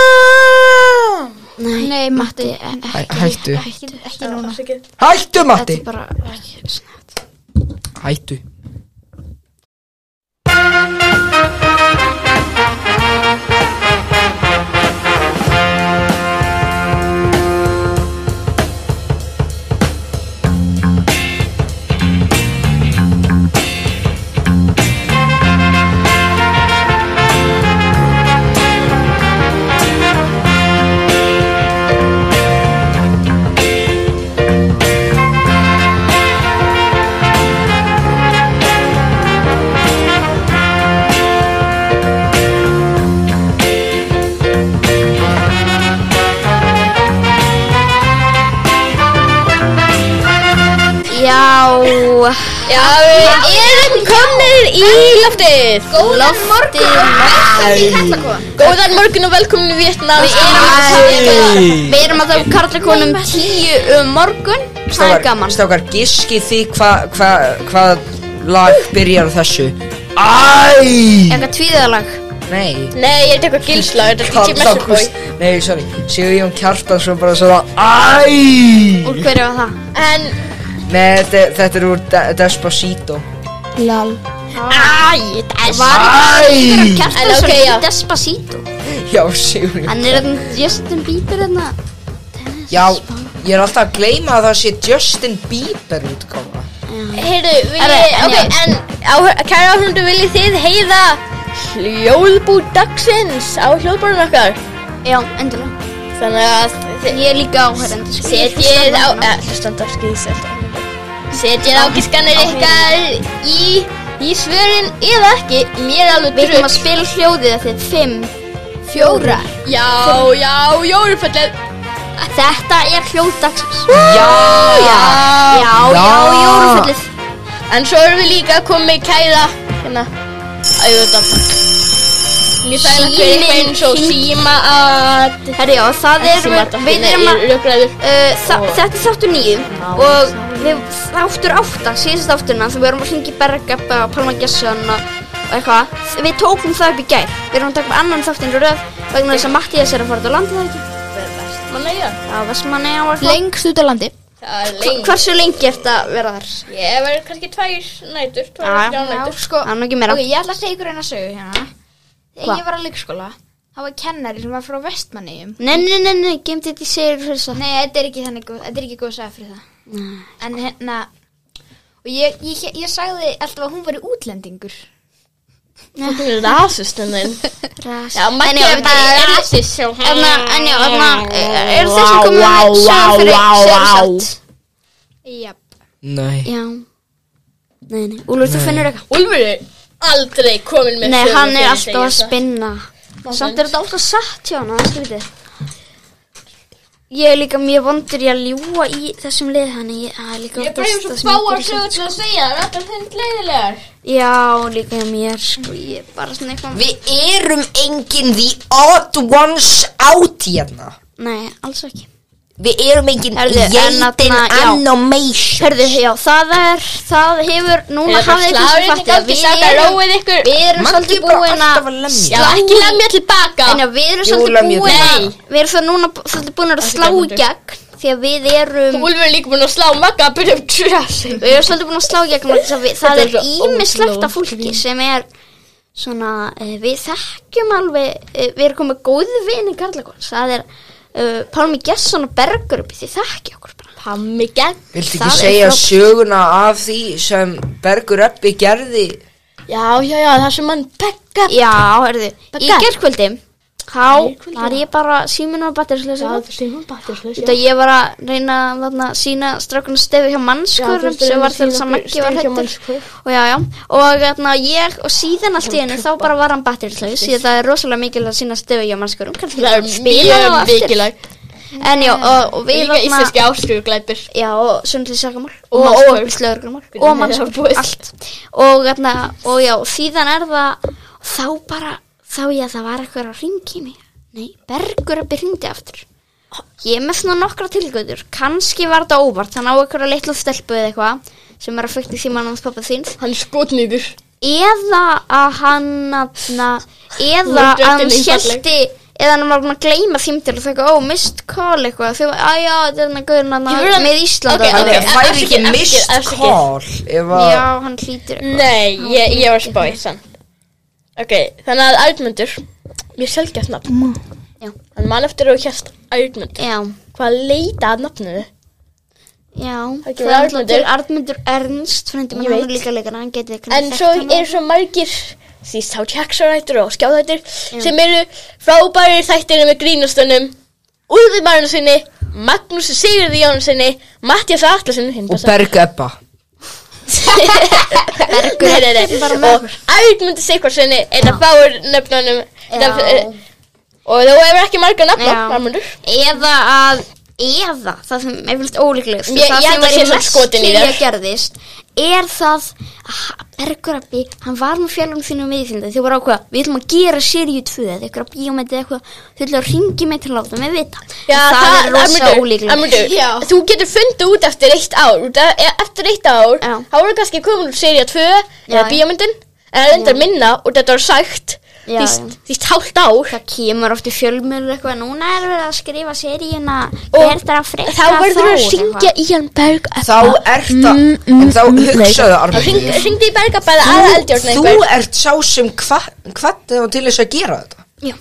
Vietnam Nei, Nei, Matti, ekki, Hæ- hættu. Hættu, Ekki núna Hættu þetta Matti er bara ekki snett Hættu Já, Já, við erum komnir í loftið Góðan morgun og velkomin í Kallakon Góðan morgun og velkomin í Vietnam við erum að Æ. Við erum að það karlakonum tíu um morgun Það er Strákar, gaman strákar giskið því hvað hva, hva lag byrjar á þessu Æ Eitthvað tvíðalag Nei Nei, ég er eitthvað gilslag, þetta er DJ Messer Boy Kallakus Nei, sorry Sigur Jón Kjartansson bara svona Æ Úr hverju var það? En, Nei, þetta, þetta er úr De Despacito Lal æ, þess Var Æ ekki En Kjartansson ok, okay, já. í Despacito Já, Sigur Jón Hann er hann Justin Bieber hérna. hann Já, ég er alltaf að gleyma að það sé Justin Bieber útgáfa Heyrðu, við, Herre, en ok, já. en áhör- Kæra áhundu, viljið þið heiða Hljóðbú dagsins á hljóðbúrun okkar Já, endilega Þannig að þið- Ég er líka áhverjandi Setjið á eh, Hlustandi á skýðselt Setjið á gískanir ykkar í, í svörin eða ekki Mér er alveg Við erum að drugg spila hljóðið þetta er fimm Fjóra Já, já, jóluföllin Þetta er hljóðdagsins Já, Já Já, já, Já. jóluföllið En svo erum við líka komið með kæra Hérna Ægjóta Mjög þægilegt fyrir Síminn eitthvað eins og hring- síma að Herri, já, það er, við erum að, Rökræður uh, það, þetta er þáttur nýju Ná, og við, þáttur átta, síðast þátturna, þegar við erum að hringi Bergabba og Palma Gesson og og eitthvað, við tókum það upp í gær, við erum að taka upp annan þáttinn úr röð vegna þess að Mattias er að fara út á landið það ekki, Mannæja á Vestmanni og eitthvað. Lengst út á landi Það er Hva- lengt Hversu lengi ert að vera þar? Ég verður kannski tvær nætur, tvær Já, og þrjá já. nætur. sko, Það er nú ekki meira. Ok, ég ætla að segja ykkur eina sögu hérna Hva? Þegar ég var að leikskóla Það var kennari sem var frá vestmanniðum Nei, nei, nei, nei, gemt þetta í segjur fyrir það. Nei, þetta er ekki þannig góð, þetta er ekki góð saga fyrir það En hérna Og ég, ég, ég sagði alltaf að hún var í útlendingur Þú er rasistinn þinn. Rast. Já, Maggi er bara rasist sjá. Erna, en já, eh, erna, er þessi komið með sögur fyrir sögur satt? Jáp Nei Já. Nei, nei, Úlfur, þú finnur eitthvað. Úlfur er aldrei komin með Nei, sögu hann er fyrir alltaf að segja það. spinna. Samt er þetta alltaf satt hjá hann, það er skrítið. Ég er líka mjög vondur í að ljúa í þessum lið, hann ég það er líka Ég er bara oftast það sem svo ég fáar gerir sögur samt. til að segja, það er alltaf hund leiðilegar. Já, líka hjá mér, sko, ég er bara svona eitthvað. Við erum engin the odd ones out hérna Nei, alls ekki. Við erum engin Herðu, en jeitin þarna, já. animation Herðu, já, það er, það hefur, núna Það er bara hafið þessum fattið að slagurinn í gangi, við strákar, erum, róið ykkur. við erum Maggi svolítið er bara búin alltaf að að lemja. Já, ekki lemja tilbaka. En já, við erum Jú, svolítið lemja búin að, þetta. við erum svo núna b- svolítið búin að Ekki slá í gangandi. gegn því að við erum, Úlfur er líka búin að slá Magga að byrja um trössi. við erum svolítið búin að slá í gegn vegna þess að við, það Þetta er er svo ímislegt ótrúlega af fólki sem er svona, eh, við þekkjum alveg, eh, við erum komið góðu vini Karlakons, það er uh, Pálmi Gesson og Bergur uppi því þekkja okkur bara. Pammi gegn. Viltu Það ekki er segja flott. söguna af því sem Bergur Eppi gerði Já, já, já, það sem hann begga. Já, herðu, í Baggar. gerðkvöldi, þá Gærkvöldi, var ég bara síminn og batterislega sem hann bara til Þetta ég var að reyna þarna, að sína strákunum stefi hjá mannskurum sem var þegar sem ekki var hættur og já, já, og þarna, ég og síðan allt í henni þá bara var hann batterislaus því að það er rosalega mikilvægt að sína stefi hjá mannskurum kannski Það er spila mjög þá aftur mikilvæg. en já, og, og við Líka íslenski ástuguglæpir. já, og sunnlýsakamál Og og mannshvörf. óhugslöðurgrumál Hvernig og er það mannskurum, búið? allt og, þarna, og já, síðan er það þá bara, þá ég að það var eitthvað að ringi mig nei, Bergur að byrjandi aftur Ég er með svona nokkra tilgöður, kannski var þetta óvart, hann á einhverja litla stelpu eða eitthvað sem er að fækta í símanum hans pappa þíns Hann er skotnýður. eða að hann na, eða Hún er að hann drottin skellti eða hann var búin að gleyma þeim til og þau ó, mist call eitthvað þau, að já, þetta er hann að gauðin hann Ég vil að- með Ísland Ok, og- Þannig að ok, færi afsakið, ekki mist afsakið, afsakið. call ef að já, hann hlýtur eitthvað Nei, ég, ég var spáið samt Ok, þannig að Arnmundur Mér selgjast nafn Já. Hann man eftir og hérst Arnmundur já, Hvað leita að nafninu? já, Það það kemur er alltaf Arnmundur. til Arnmundur Ernst frendi Ég mann, hann veit. er líka leikana hann getið En kannski svo þekkt hann. eru svo margir Því þá tjaxarættur og skjáðættur Sem eru frábæri þættir með grínastunum Úlfi Marinu sinni Magnús Sigurði Jónu sinni Mattias Atlasin hinn og berga eppa Nei, nei, nei bara með Og Arnmundur Sigurðsson er að fáur nöfnunum Það- Já. Og þú hefur ekki marga nafna, Já. Arnmundur eða að eða það sem er vilt ólíklegust Ég- það ég held sem að sé væri samt mest skotin í lygi þér. að gerðist er það að Bergurabbi, hann var með fjölum þínu með þínu þau voru ákveða, við ætlum að gera seríu 2 eða eitthvað bíómynd eða eitthvað þau ætlum að ringi mig til að láta mig vita En það, er rosa Arnmundur, ólíklegt Arnmundur, Já. Þú getur fundið út eftir eitt ár út af- e- Eftir eitt ár Já. Þá voru kannski komin úr serið 2 Já. Eða bíómyndin En það reyndar minna og þetta var sagt Já, já. Því hálft ár það kemur oft í fjölmjölu eitthvað núna er við að skrifa seríuna Og hver þarf að frekka Þá verður að eitthvað. syngja í hann Berg þá Mm, ert það en þá hugsaðu Arnmundur Syngdi í Berg að bæða aða eldjórn þú, þú ert sá sem hvað þau til þess að gera þetta já,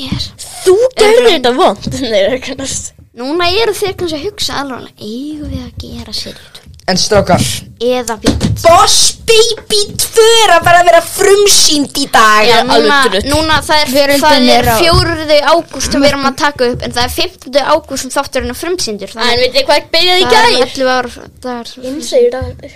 ég er Þú gerður þetta vond Nei, það er kannast núna eru þeir kannski að hugsa alveg eigum við að gera seríu 2 en strákar eða bíómynd Boss Baby 2 er að bara vera frumsýnd í dag Já, alveg núna, drull. núna það er, Veröldin það er er á- 4. ágúst sem við erum að taka upp en það er 5. ágúst sem þátturinn er frumsýndur En þannig veit þið hvað byrjaði í það er gæð? 11 ára það er,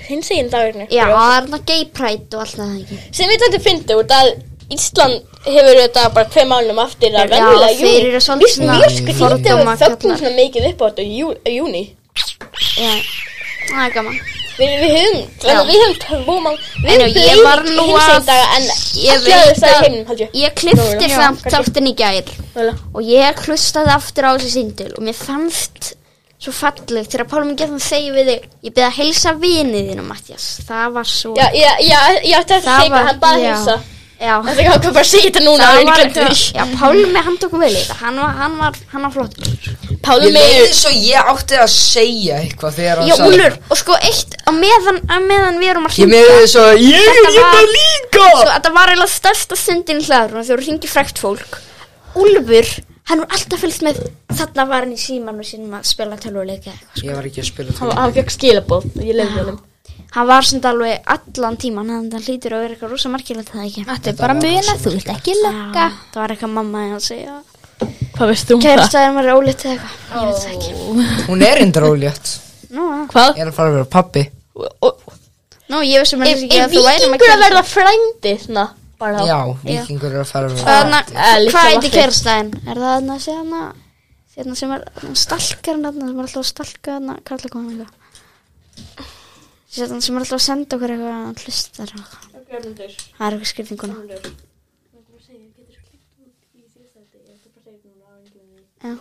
Hins eginn dagurinn já, það er það gay pride og allt það ekki Sem við þetta fyndi út að Ísland hefur þetta bara tveim málum aftur að Já, venjulega júni. þeir eru svolítið svona Mjög skrítið að fordóma við fögnum kallar. svona mikið upp á þetta í jú, í júni. já, það er gaman Við, við höfum, Já. við höfum tvo mál, En við já, ég var nú að- hinsegin daga en ég allir aðeins veit það í að heiminum, held ég. ég klifti Já, samt kannski. þáttinn í gær Mögulega. og ég hlustaði aftur á þessi síndil og mér fannst svo fallegt þegar Pálmi Gjartan segi við þig ég byrði að heilsa vinið þínu Mattias það var svo Já, já, já, ég átti eftir að segja hvað hann baði já. hilsa. já, Það er ekki bara að segja þetta núna, það hann var glemti því. já, Pálmi hann tók vel í þetta hann var, hann var, hann var flott Pálmi, Ég leiði svo ég átti að segja eitthvað þegar hann já, sagði Úlur, og sko eitt á meðan, á meðan við erum að Ég hringja leiði svo Ég er Þetta hérna var- líka sko, þetta var eiginlega stærsta sundin hlaður þegar þú hringir frækt fólk Úlfur, hann var alltaf fylgst með þarna var hann í símanu sínum að spila tölvuleika eða eitthvað, Ég var ekki að spila hann, það hann fekk skilabóð, ég lefði honum. sko. hann var samt alveg allan tíman hann hlýtur að vera eitthvað rosa margilegt það ekki Þetta er bara að muna, þú ert ekki lögga. Já, það var eitthvað mamma að segja Hvað veist þú um það? kærastaðin var ólitt eða eitthvað ég veit það ekki Hún er endur ólétt nú, Hvað? Ég er að fara að vera pappi nú ég veist sem Er hann ekki að þú væri með vikingur að verða frændi, svona, bara Já, vikingur er að fara að vera Þarna, Eh, litla hvað heitir vatnið. kærastæðin? Er það hann að segja hann að hérna sem er stalkar hann sem er alltaf að stalka hann að kalla konan eitthvað Sér hann sem er alltaf að senda okkur eitthvað hann hlustar og eitthvað. það er eitthvað skrifninguna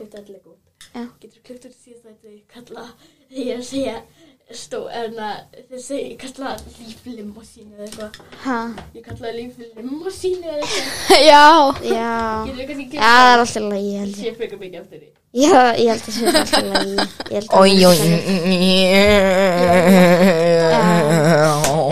getur klippt úr síðast að þið kalla ég er að segja stó, en að þið segja ég kalla líflimosínu eða eitthvað Ha, ég kalla líflimosínu eða eitthvað Já. Já, getur kannski Já, ekki það er alltaf lægi ég held ég. sé frekar mikið eftir því Já, ég held að það er alltaf lægi Ég held að Ói, ói það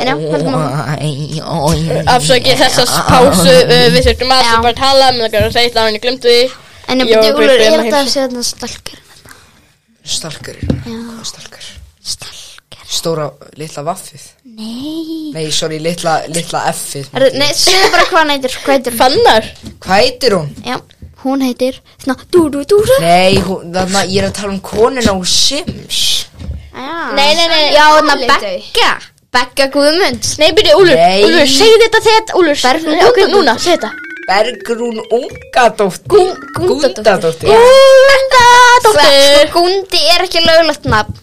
En já, höldum Ói, ói Afsakið þessast pásu, uh, við þurftum að Já. það bara að tala, með það að segja þetta á henni, glemtu því. En ég Ég var byrja bara úlur, að er gleyma þetta heilsu. að segja hann að stalkar hann Stalker Hvað stalker? Stalkar, Stóra, litla vaffið nei Nei, sorry, litla, litla F-ið Er- Nei, segðu bara hvað hann heitir, hvað heitir hann? Fannar? Hvað heitir hún? Já, hún heitir Svona, dú, dú, dú, dú Nei, hún, þarna, ég er að tala um konuna úr Sims Nei, Nei, nei, nei. Já, þarna Alveg dauð. Begga Begga Guðmunds Nei, byrju, Úlur, Nei. Úlur, segðu þetta þetta, Úlur. Berg- Nei, ok, núna, segðu þetta. Bergrún Ungadóttir Gundadóttir Gunda, Sko, dóttir. Gundi er ekki löglegt nafn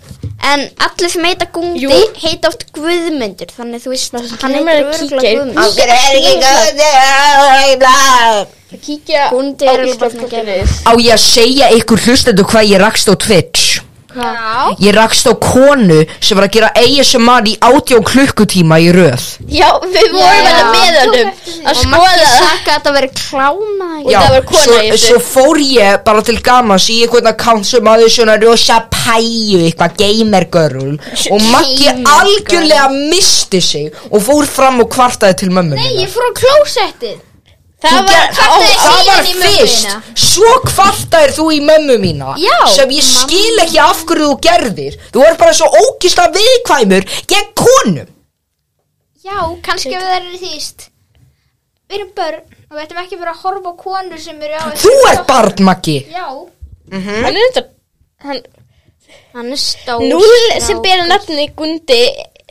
En allir sem heita Gundi Jú. heita oft Guðmundur Þannig þú veist, hann kemur heitir að örgulega kíkja í- Guðmunds Okkur er ekki góðið Kíkja Gundi á er alveg bara Íslandsbankanis. Á ég að segja ykkur hlustendu hvað ég rakst á Twitch Já. Ég rakst á konu sem var að gera ASMR í átjá klukkutíma í röð Já, við vorum Já. hérna með honum að Og skoða Maggi það. sakka að þetta verið klána í- Já. það var kona svo, í þessu. svo fór ég bara til gamans í einhvern account sem hafði svona rosa pæju, eitthvað gamergörl og Maggi Gamergirl. algjörlega misti sig og fór fram og kvartaði til mömmu Nei, minnar. ég fór á klósettið. Það Þú var, ger- það, kvartaði það síðan var í mömmu fyrst þína. Svo kvartaðir þú í mömmu mína Já, Sem ég skil ekki af hverju þú gerðir Þú er bara svo ókisla viðkvæmur Gegn konum Já, kannski ef það eru þýst. Við erum börn og við ættum ekki að vera að horfa á konur sem eru á... Þú ert barn, Maggi Já. hann er þetta, hann, Hann er stór núl sem bera nafni Gundi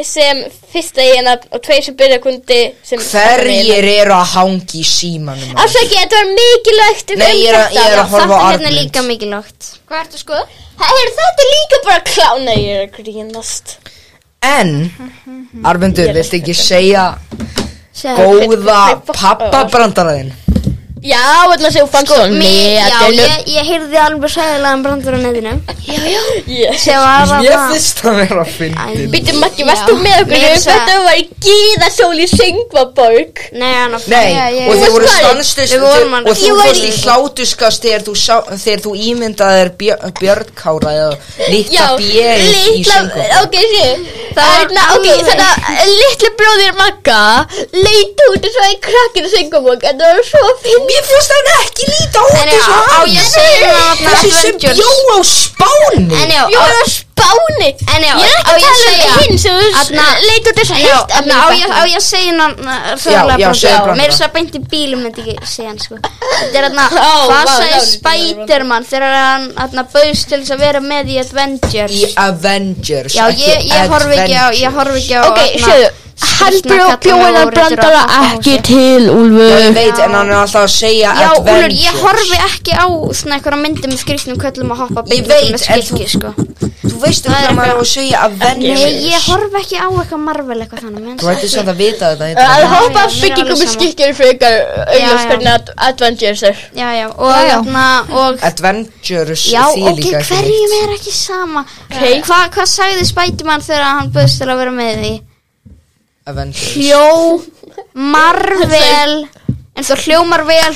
sem fyrsta í nafn og tveir sem bera Gundi sem... Hverjir eru að hangi í símanum maður? Afsaki, þetta var mikilvægt um Nei, ég er að- ég er að horfa á Þetta hérna er Arnund líka mikilvægt Hvað ertu að skoða? Það er þetta er líka bara klána ég er að grínast. En, Arvendur, viltu ekki segja Sjáðu. Góða pappabrandaræðin Já, þarna sem þú Sko, fannst það Mér- Já, netinu. ég, ég heyrði alveg sæðilegan brandur á neðinu Já, já. Yes. sem var að Ég finnst það vera að fyndi Býttu Maggi, varst þú með okkur Mér um sagði- þetta var í gíðasól í Söngvaborg? Nei, hann að Nei, Já, ég- og Þú þau varst voru hvar? stanslust Við vorum að- og þú Ég var fórst í- í hlátuskast þegar þú, sá, þegar þú ímyndaðir björnkára eða litla björn í litla, söngu ok, sé Það var Þarna, ok, alveg- þannig að litli bróðir Magga leit út og svo í krakkinu syngumokk en það var svo finn Mér fórst hann ekki líta út En já, eins og á hann ég að segja það að Þessi það er sem Avengers. bjó á Spáni En já, á, Bjóður á Spáni En já, Ég er á ekki að ég að tala um segja- hinn sem þú Þarna- leit út eins og já, heilt en á, ég, á ég að segja hann já, segðu brandara. Mér er svo beint í bílum myndi ekki segja hann sko Þetta er hann Ó, vá, Hvað já, sagði líka Spiderman þegar hann hann bauðst til þess að vera með í Avengers Í Avengers Já, ekki ég, ég horfi ekki á Ég horfi ekki á Ok, þarna, sjöðu Hann skrýtna bjóð kalla bjóðan og brandara reytur að- ekki til, Ég Úlfur veit en hann er alltaf að segja Já, Úlur, Avengers ég horfi ekki á svona einhverja myndi með skrýtnum köllum að hoppa Ég byggjum veit, með en skilki, sko Þú veist um Það er hvað maður á eitthvað- að segja Avengers Nei, ég horfi ekki á eitthvað Marvel eitthvað þannig mér Þú ætti samt að vita þetta ég um Að trúi. Já, já, hópa mér er byggingum alveg með sama. skikkjur frekar auðvitað já. hvernig Ad- Avengers er Já, já, og þarna og Avengers Já, því ok, líka ekki hverjum er ekki sama okay. Hva, Hvað sagði Spiderman þegar hann bauðst til að vera með því? Avengers Hljó, Marvel En þú hljómar vel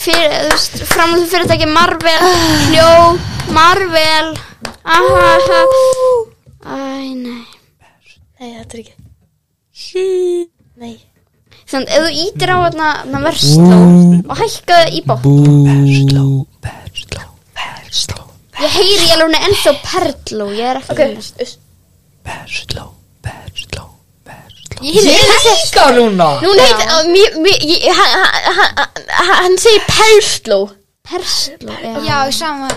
fyrir, þú veist, Framlega fyrirtæki Marvel Hljó, Marvel Aha, aha Æ, nei Nei, þetta er ekki Nei Þannig, ef þú ítir á hérna hérna versló og hækkaðu í bótt Ég heyri í alveg ennþá perló, ég er ekki Ok, að- uss. Ég líka núna Núna heit, á, mér, mér, ég, hann, hann- hann, hann segir persló Persló, já, Já, sama.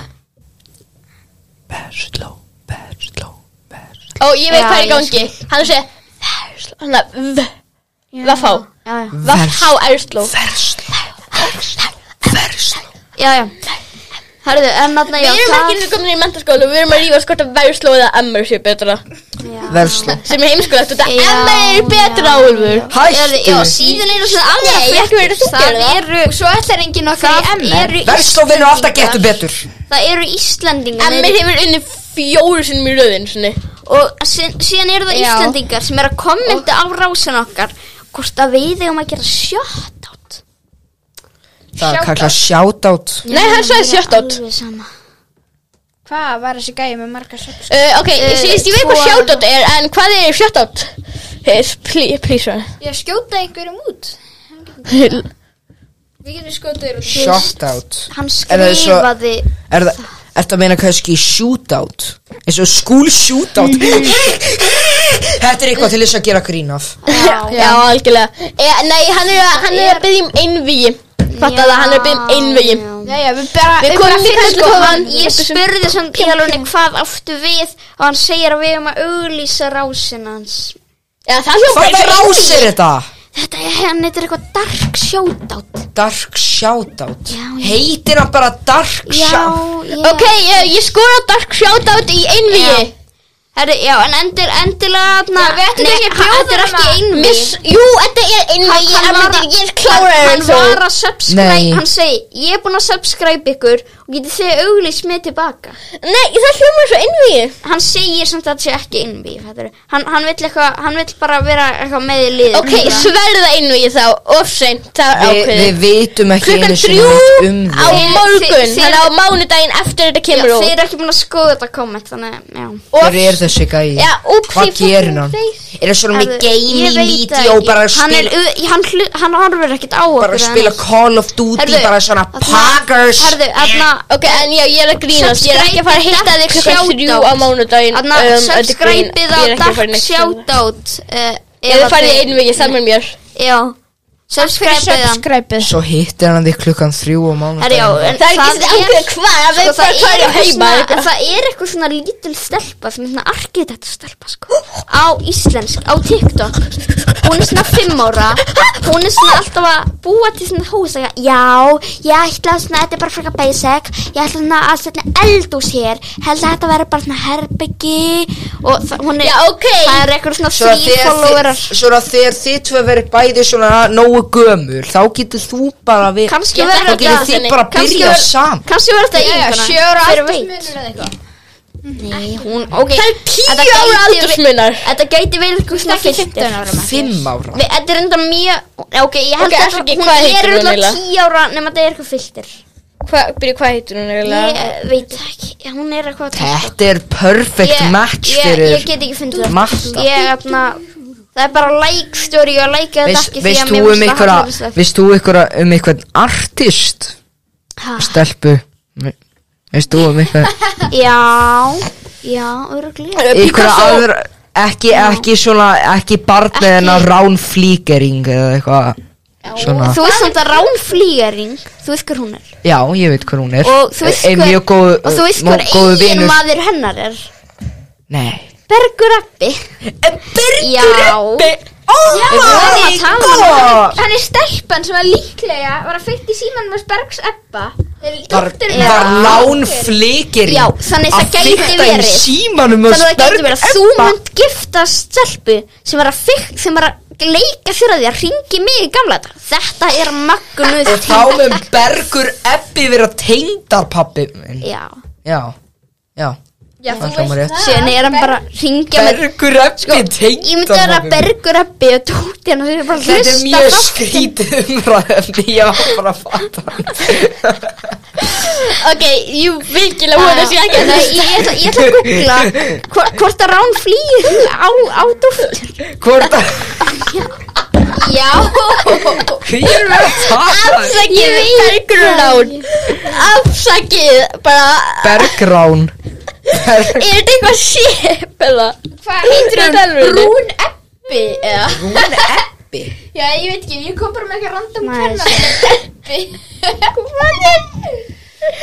Ó, ég veit Já, hvað er í ég gangi Hann segir persló Hann er v Vafá já, já. Vafá ersló já, já. Herðu, en þarna, já, Við erum ekki eins og komin í mentaskóla Við erum að rífa skort að versló eða emmer sé betra Versló Sem er heimskulegt Þetta Já, emmer er betra já, úlfur Herðu, Hættu já, síðan eru svona Nei, annað ég ekki verið að þú Það gerir það eru, Og svo ætlar enginn okkar það í MR. eru Versló vinnur alltaf getur Íslendingar betur Það eru Íslendingar Emmer hefur unni fjóru sinnum í röðin sinni. og sí- síðan eru það Já. Íslendingar sem eru að kommenta á rásin okkar hvort að við eigum að gera shot out Það er kallað shoutout Nei, hann sagði shot out Hvað var þessi gæði með marga sjöfnskóla? uh, Ok, Eh, síðust ég veit hvað svo- shoutout er En hvað er shoutout? Hey, please, please sir. Ég skjóta einhverjum út. Við getum skjótað þér út. Shoutout Hann Er það svo- skrifaði Er það Ertu að meina kannski shootout eins og school shootout Mm. Þetta er eitthvað til þess að gera grín af Já, já, algjörlega e, Nei, hann er, að- hann er að byggja um einvigi Fattar það, hann er að byggja um einvigi Já. Jæja, við bara... Við komum líka til Sko, tóðan hann, ég spurði samt í alveg hvað áttu við og hann segir að við erum að auglýsa rásin hans Já, það hljópa Hvað rás er þetta? Þetta er, hann heitir eitthvað dark shoutout Dark shoutout Já, já. Heitir hann bara dark shoutout já Ok, ég, ég skora dark shoutout í einvigi Herri, já, en endir, endilega na, við ættum nei, ekki að hann- bjóða Þetta er honum ekki að- einvig Miss, jú, þetta er einvigi Hann- hann Hann var- myndir, ég er klárar Hann en þú var að subscribe, Nei. hann segi Ég er búinn að subscribe ykkur og getið þið auglýst með tilbaka Nei, það hljómar svo innvíu hann segir samt að það sé ekki innbýf hann, hann vill eitthvað, hann vill bara vera eitthvað með í liðin Ok, sverða innvíu þá, ofseint Það er Vi, ákveðið við vitum ekki Klukkan einu sinni neitt þrjú um á það Þið- morgun þið- Þannig á mánudaginn eftir já, þetta kemur þið út eru ekki búin að skoða þetta komment þannig, að, já Og- Hver er þessi gæi? Já, úps, Hvað ég fór gerir með hann? face. Er það svona með Herðu, ég gaming, veit það vídeo, ekki. bara að hann, er, spila u- hann, hlu, hann horfir ekkert á okkur bara að spila Call of Duty, Herðu, bara svona þarna- Poggers herðu, þarna Ok, en já, ég er að grínast Ég er ekki að fara að hitta þig klukkan Subscribe, þrjú á mánudaginn Þarna, um, þetta er grín. subscribe-ið á Ég er ekki að fara Dark neitt annað. Shoutout uh, Ef þið farið í innvíu, það með mér Já, subscribe-ið hann Skræpið Svo hittir hann þig klukkan þrjú á Herri, já, mánudaginn en Það er ekki þetta ákveðið hvað, það sko, er bara það, er hverja eitthvað heima svona, eitthvað. það er eitthvað svona lítil stelpa sem er svona arkitekt stelpa sko, á íslensk, á TikTok hún er svona fimm ára hún er svona alltaf að búa til svona hús að já, ég ætla að svona, þetta er bara frekar basic ég ætla svona að setja eldús hér held að þetta verður bara svona herbyggi og það, hún er Já, ok. það er eitthvað svona Svo að þrý þegar followerar þið- svo að þegar þið tvö verið bæði svona nógu gömul Þá getur þú bara við kannski Já, verður Þá þetta- getur þetta þið Þannig, bara kannski byrja verður- saman kannski verður þetta Já, já, yngana, sjóra hver veit? aldursmunur eða eitthvað Nei, hún, ok Það er Þetta tíu gæti ára verið- aldursmunar. Þetta gæti verið eitthvað svona Ekki fyrstir 15 ára maður. Fimm ára Við- Þetta er enda mjög Ok, ég held Ok, að afsakið, hún hvað heitir er hún enda eiginlega? 10 ára nema þetta er eitthvað fyrstir Hvað, byrju, hvað heitir hún eiginlega? Ég eh, veit það ekki, hún er eitthvað Þetta er perfect Ég- match ég- fyrir Ég get ekki fundið það Marta. Ég, þarna Það er bara like story og like þetta Veist ekki veist þú um ykkur Veist þú ykkur um einhvern artist ykkur Stelpu Veist þú um ykkur Já, já, öruglega Ykkur aðra Ekki, ekki svona, ekki barn eða en að rán flíkering eða eitthvað Svona, Þú veist þetta ránflýjaring Þú veist hver hún er já, ég veit hvað hún er Og þú veist Ein mjög góð, og þú veist hver góð eigin vinur maður hennar er Nei, Bergur Abbi Bergur Abbi oh Við vorum að tala um það. Hann er stelpan sem var líklega var að fyrta í símanum hans Bergs Ebba Þegar var, dótturinn var hennar- lán flikir Já, þannig það gæti Að verið. flikta í símanum og Þannig að það getur verið að þú Ebba. munt giftast stelpu sem var að, fyrk, sem var að leika þér að því að ringi mig í gamla þetta Þetta er magnuð Og þá mun Bergur Ebbi vera tengdarpappi minn. Já, Já, já Já, Það hljómar rétt síðan er hann bara að ringja með Bergur Ebbi sko, Ég myndi að vera tengdarpappi minn. bergur að beða tótt hérna sem er bara að Þetta hlusta er mjög þátt. skrítið umræðan Ég var bara að fatta Ok, jú, virkilega hún að sé ekki að Nei, það Ég ætla ég ætla að googla hvort- hvort að rán flýir á, á dóttur Hvort að Já, Ég er verið að tala Afsakið bergrunán Afsakið bara Bergrán Bergrán Er þetta eitthvað ship eða? Hvað heitir Þetta er hann? alveg. Brún Ebbi eða? Ebbi Já, ég veit ekki, ég kom bara með eitthvað random Nice. kvenna sem er Ebbi Hvað er?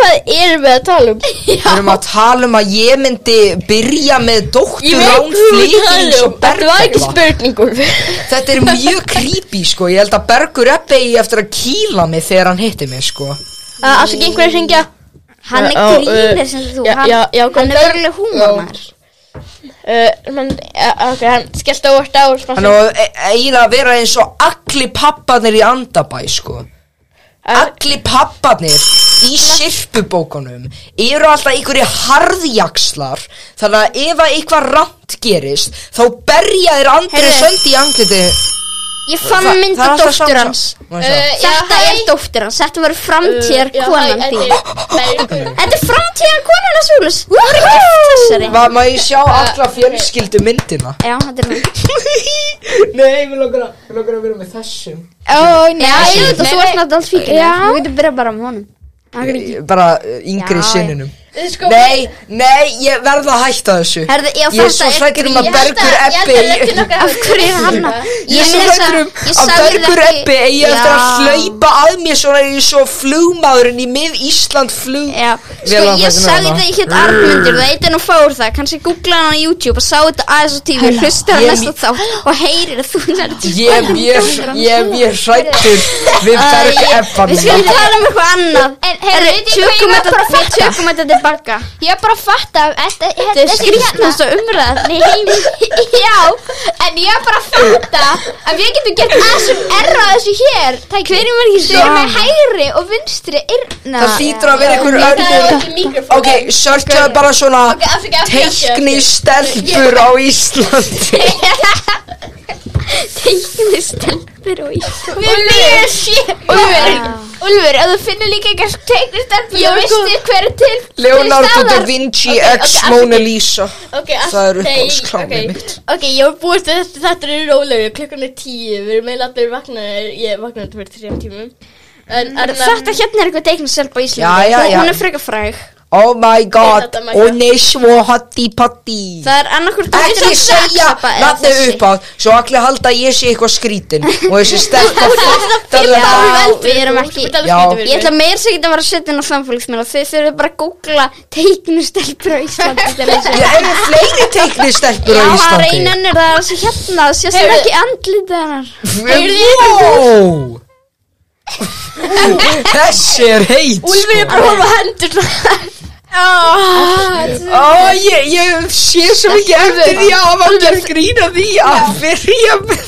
Hvað erum við að tala um? Við erum að tala um að ég myndi byrja með dóttur Ég rán veit hvað við flýting tala svo um Þetta var ekki bergabla. spurningum Þetta er mjög creepy sko, ég held að Bergur Ebbe eigi eftir að kýla mig þegar hann hitti mig sko. Afsakið einhverja að ringja hann Eh, er Já, já, grínir uh, sem þú já, hann, já, já, hann góðan er dag. veruleg húmar Já. uh, man, uh, Ok, hann skellt á vart á Hann á e- eiginlega að vera eins og allir papparnir í andabæ sko. Uh, Allir papparnir í sirpubókunum eru alltaf einhverju harðjakslar þannig að ef að eitthvað rant gerist þá berja þér andri Heyrðu. söndi í angliti Ég fann mynda dóttur hans Eh, Þetta er dóttur hans, þetta verður framtíðar konan þín Þetta er framtíðar konan hans Júlus Hún er gift þessari Hvað, má ég sjá alla fjölskyldu myndina? Já, þetta er hann Nei, við langar að, mig langar að vera með þessum Ó, nei Já, ég veit að þú ert nei. náttúrulega alls fíkir Þú getur byrjað bara með honum Hann er ekki- Eh, Bara eh, yngri Já, já. sinninum Sko, Nei, nei, ég verð að hætta þessu Herðu, já, Ég er svo þetta er hrættur um að grín. Bergur Ebbi Ég held að þetta er nokkað Af hverju er hann að Ég er svo meira hrættur um að ég að sagði Bergur ekki- Ebbi eigi eftir að Já. hlaupa að mér svona eins og flugmaðurinn í mið Ísland flug hérna. Vel Já, sko að ég þessu sagði núna. það ég hétt hérna Arnmundur það eitt en hún fór það, kannski googlaði hann á YouTube og sá þetta aðeins á tífi, hlustar Ég- hann næsta þátt og heyrir að þú nærði Ég er mjög, ég er mjög hrættur við Bergur Ebba Við minna skulum tala um eitthvað annað En, Herri, heyrðu, veit ég hvað tökum þetta ég var bara að við tökum þetta til baka Ég er bara að fatta að þetta- Þetta er þessi hérna- skrýstnast og umræðan í heimi Já, en ég er bara að fatta að við getum gert að sem erra þessu hér Tæki, hverjum er ekki Þau eru með hægri og vinstri yrna Það hlýtur að vera einhver Það er önnur ekki mikrofón Ok, searchaðu bara svona afsakið, afsakið, afsakið. Teikni stelpur á Íslandi Teikni stelpur og ísla Úlfur, Úlfur, ef þú finnur líka eitthvað teiknist en þú Já, veistir sko. hver er til Leonardo til da staðar. Vinci Ok, ok, X afsakið. Mona Lisa Ok, allt- Það er nei, uppáhaldsklánið ok. mitt. Ok, ég var búist við þetta, þetta er rólegu, klukkan er tíu, við erum meðlega allir vaknaðir, ég vaknaði fyrir þrejum tímum. En er Þetta hérna er eitthvað teikni stelp á Íslandi Já, já, já. Hún er frekar fræg Oh my god þetta er magnað. Hún er svo hotti patti Það er annarkur Ekki segja Nafni upp á Svo allir halda að ég sé eitthvað skrítin Og þessi stelpa Já, fattar- við erum ekki Já. Ég ætla meir sem geta að vera að setja inn á samfélagsmiðla Þau þurfum bara að googla teikni stelpur á Íslandi til að sjá. Ég eru fleiri teikni stelpur Já, á hann Íslandi reynan er það sem hérna Það sést Heyrðu. ekki andlið hennar Wow Þessi er heit sko. Úlfur er bara að horfa á hendur svona. Ó, ég, ég sé svo mikið eftir því að hafa að gera grína því að byrja með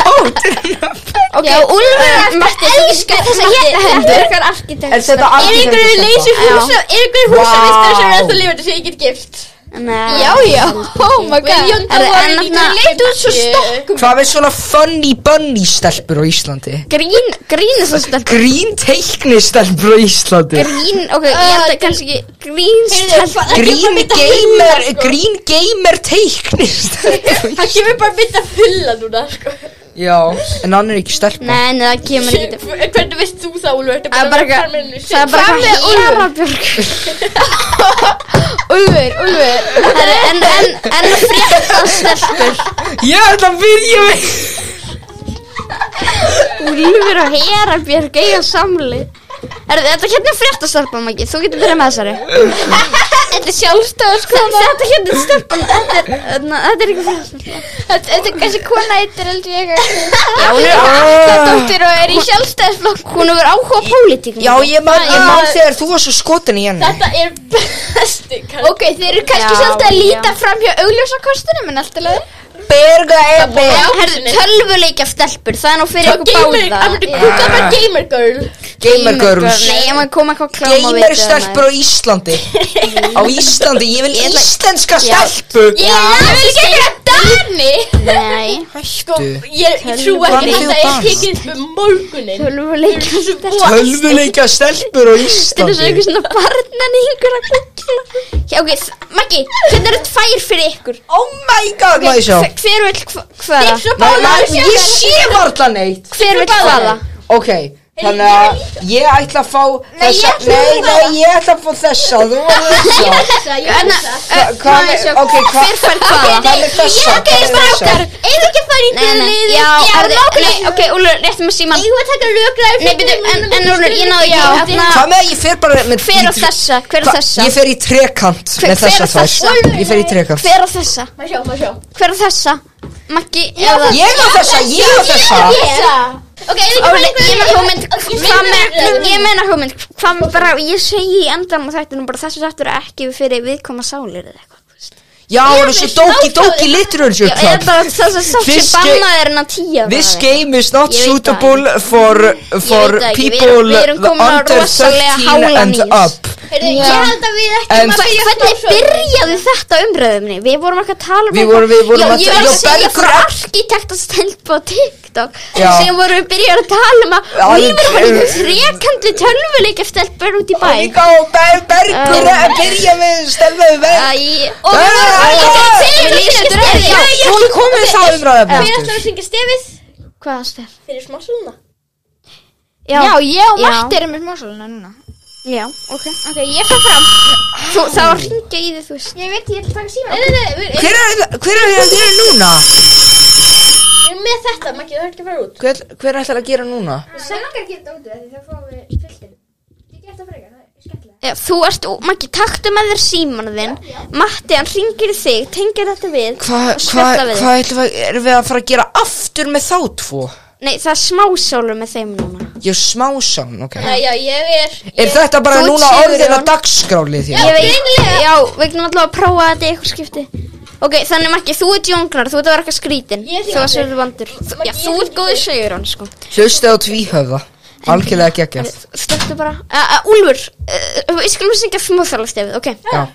tóttirina Ok, Úlfur mætti elska þess að hérna hendur Þetta Er þetta Er einhverju leysi húsa, er einhverju húsavistar sem er ennþá lifandi sem ég get gift? Nei Já, já, oh my god Jón Herru, Dóri en líka þarna- leit út svo stokk. Hvað með svona funny bunny stelpur á Íslandi? Grín, grín þess að stelpur Grín teikni stelpur á Íslandi Grín, ok, ég held að kannski ekki Grín stelpur Grín gamer, grín gamer teikni Það kemur bara mitt að fulla núna, sko. Já, en hann er ekki stelpa Nei, nei, það kemur ekki til Hvernig veist þú það, Úlfur? Þetta Það er með bara eitthvað Carmenu Það er sinni. bara eitthvað hérabjörg Úlfur, Úlfur Herru, en, en, en að frétta af stelpur Ég ætla að byrja með Úlfur og hérabjörg eiga samli Herru, þetta hérna er frétta stelpa, Maggi Þú getur byrjað með þessari Þetta er sjálfstöður sko Þetta hérna er stelpa Þetta er, hérna, þetta er ekki frétta stelpa Þetta þetta er kannski kona eittir heldur ég Já, hún er Dóttir og er í sjálfstöðsflokk Hún hefur áhuga á pólitík Já, ég man, ég man þegar þú var svo skotin í henni Þetta er besti, kannski. Ok, þeir eru kannski Já, svolítið að já. líta fram hjá augljósakostunum en allt í lagi Berga Oh Ebbi Herru, tölvuleikja stelpur, það er nú fyrir ykkur Gamer, báða I'm gonna cook up a gamer girl. Gamer girls Nei, ég maður koma eitthvað kláma Gamer stelpur á Íslandi Á Íslandi, ég vil íslenska stelpu Ég vil ekki gera Dani. Nei, Sko, ég, ég trú Hvað ekki með að þig og dans? þetta er tekið upp um morgunin tölvuleikja Tölvuleika stelpur á Þetta er Íslandi svo eitthvað svona barnan yngur að kukla Já, ok, þ- Maggi, hérna eru tvær fyrir ykkur Oh my god, má ég sjá Hver- Hver vil hva- hvaða? Nei, nei, Ég sé varla neitt Hver vil hvaða? Ok, þannig að ég ætla að fá þessa Nei, nei, ég ætla að fá þessa Þú var þessa Hva- Hvað með, ok, hvað Hver fær hvaða? Hvað með þessa, hvað með þessa Eða ekki að fara í Nei, nei, já, herðu, nei, ok, Úlur, réttum að síma Þú að taka rökraði Nei, byrju, en, en Úlur, ég náðu ekki hérna, Hvað með, að ég fer bara með Hver á í- þessa? Hver á Hva- þessa? Ég fer í trekant Hver- með hver þessa er þessa? tvær Ég fer í trekant Hver á þessa? Má sjá, má sjá Hver á þessa? Maggi, eða Ég á þessa, ég á þessa Ok, er ekki Óli, ég með hugmynd Hvað meina- með, ég meina hugmynd Hvað með bara, ég segi í endan á þættinu bara þessu þættur er ekki fyrir viðkoma sálir eða eitthvað þú veist. Já, hún er svo dóki, dóki hérna. Já, literature eða club bara þess að sátt This sem ga- bannað er en að tíja This game is not Ég veit suitable for, uh, for Ég veit það ekki, við people erum- við erum komin á under rosalega 13 hálan and ís. up Ég held að við ekki En Hvernig byrjaði þetta umröðumni? Við vorum ekki að tala um Við eitthvað- vorum- við vorum að- um Já, ég var að já, segja Bergur frá er- arkitektastelp á TikTok Já. En sem vorum við byrjað að tala um að Já, Við vorum að við- líka þrekandi tölvuleika stelpur út í bæ Líka og ber, bergur Um. að byrja með stelmaðu verð Æ, Og við vorum að Já, Já, hún komið það umræðum Við ætlum að syngja stefið Hvaða stef? Fyrir smá svona Já, ég og Já. Matti erum með smásóluna núna Já, ok Ok, ég fer fram Þú, það var hringja í þig, þú veist Ég veit, ég ætla að taka síma Nei, nei, nei Hver er hver er að gera núna? Við erum með þetta, Maggi, það er ekki að fara út Hver, hver ætlar að gera núna? Sæl langar að gera þetta út af því þá fáum við fylgdinn Ég get það frekar, það er skemmtilega Já, Þú ert, ú- Maggi, taktu með þér síman þinn Matti, hann hringir í þig, tengir þetta við Hvað hva, og spjalla við hva ætlum við, erum við að fara að gera aftur með þá tvo? þig. Nei, það er smásólu með þeim núna Ég er smá sán, ok Nei, já, ég er Er þetta bara Þú ert núna Sigurjón. orðin að dagskrálið þín? Ég veit, já, við erum alltaf að prófa þetta í eitthvað skipti Ok, þannig Maggi, þú ert jóngrar, þú ert að vera eitthvað skrítin Ég er Þú varst verið vandur Já, þú ert góður segjur hann, sko Hlustið á tvíhöfða Algjörlega geggjað Slöktu bara uh, uh, Úlfur, uh, ég skal syngja smóþalastefið, ok Já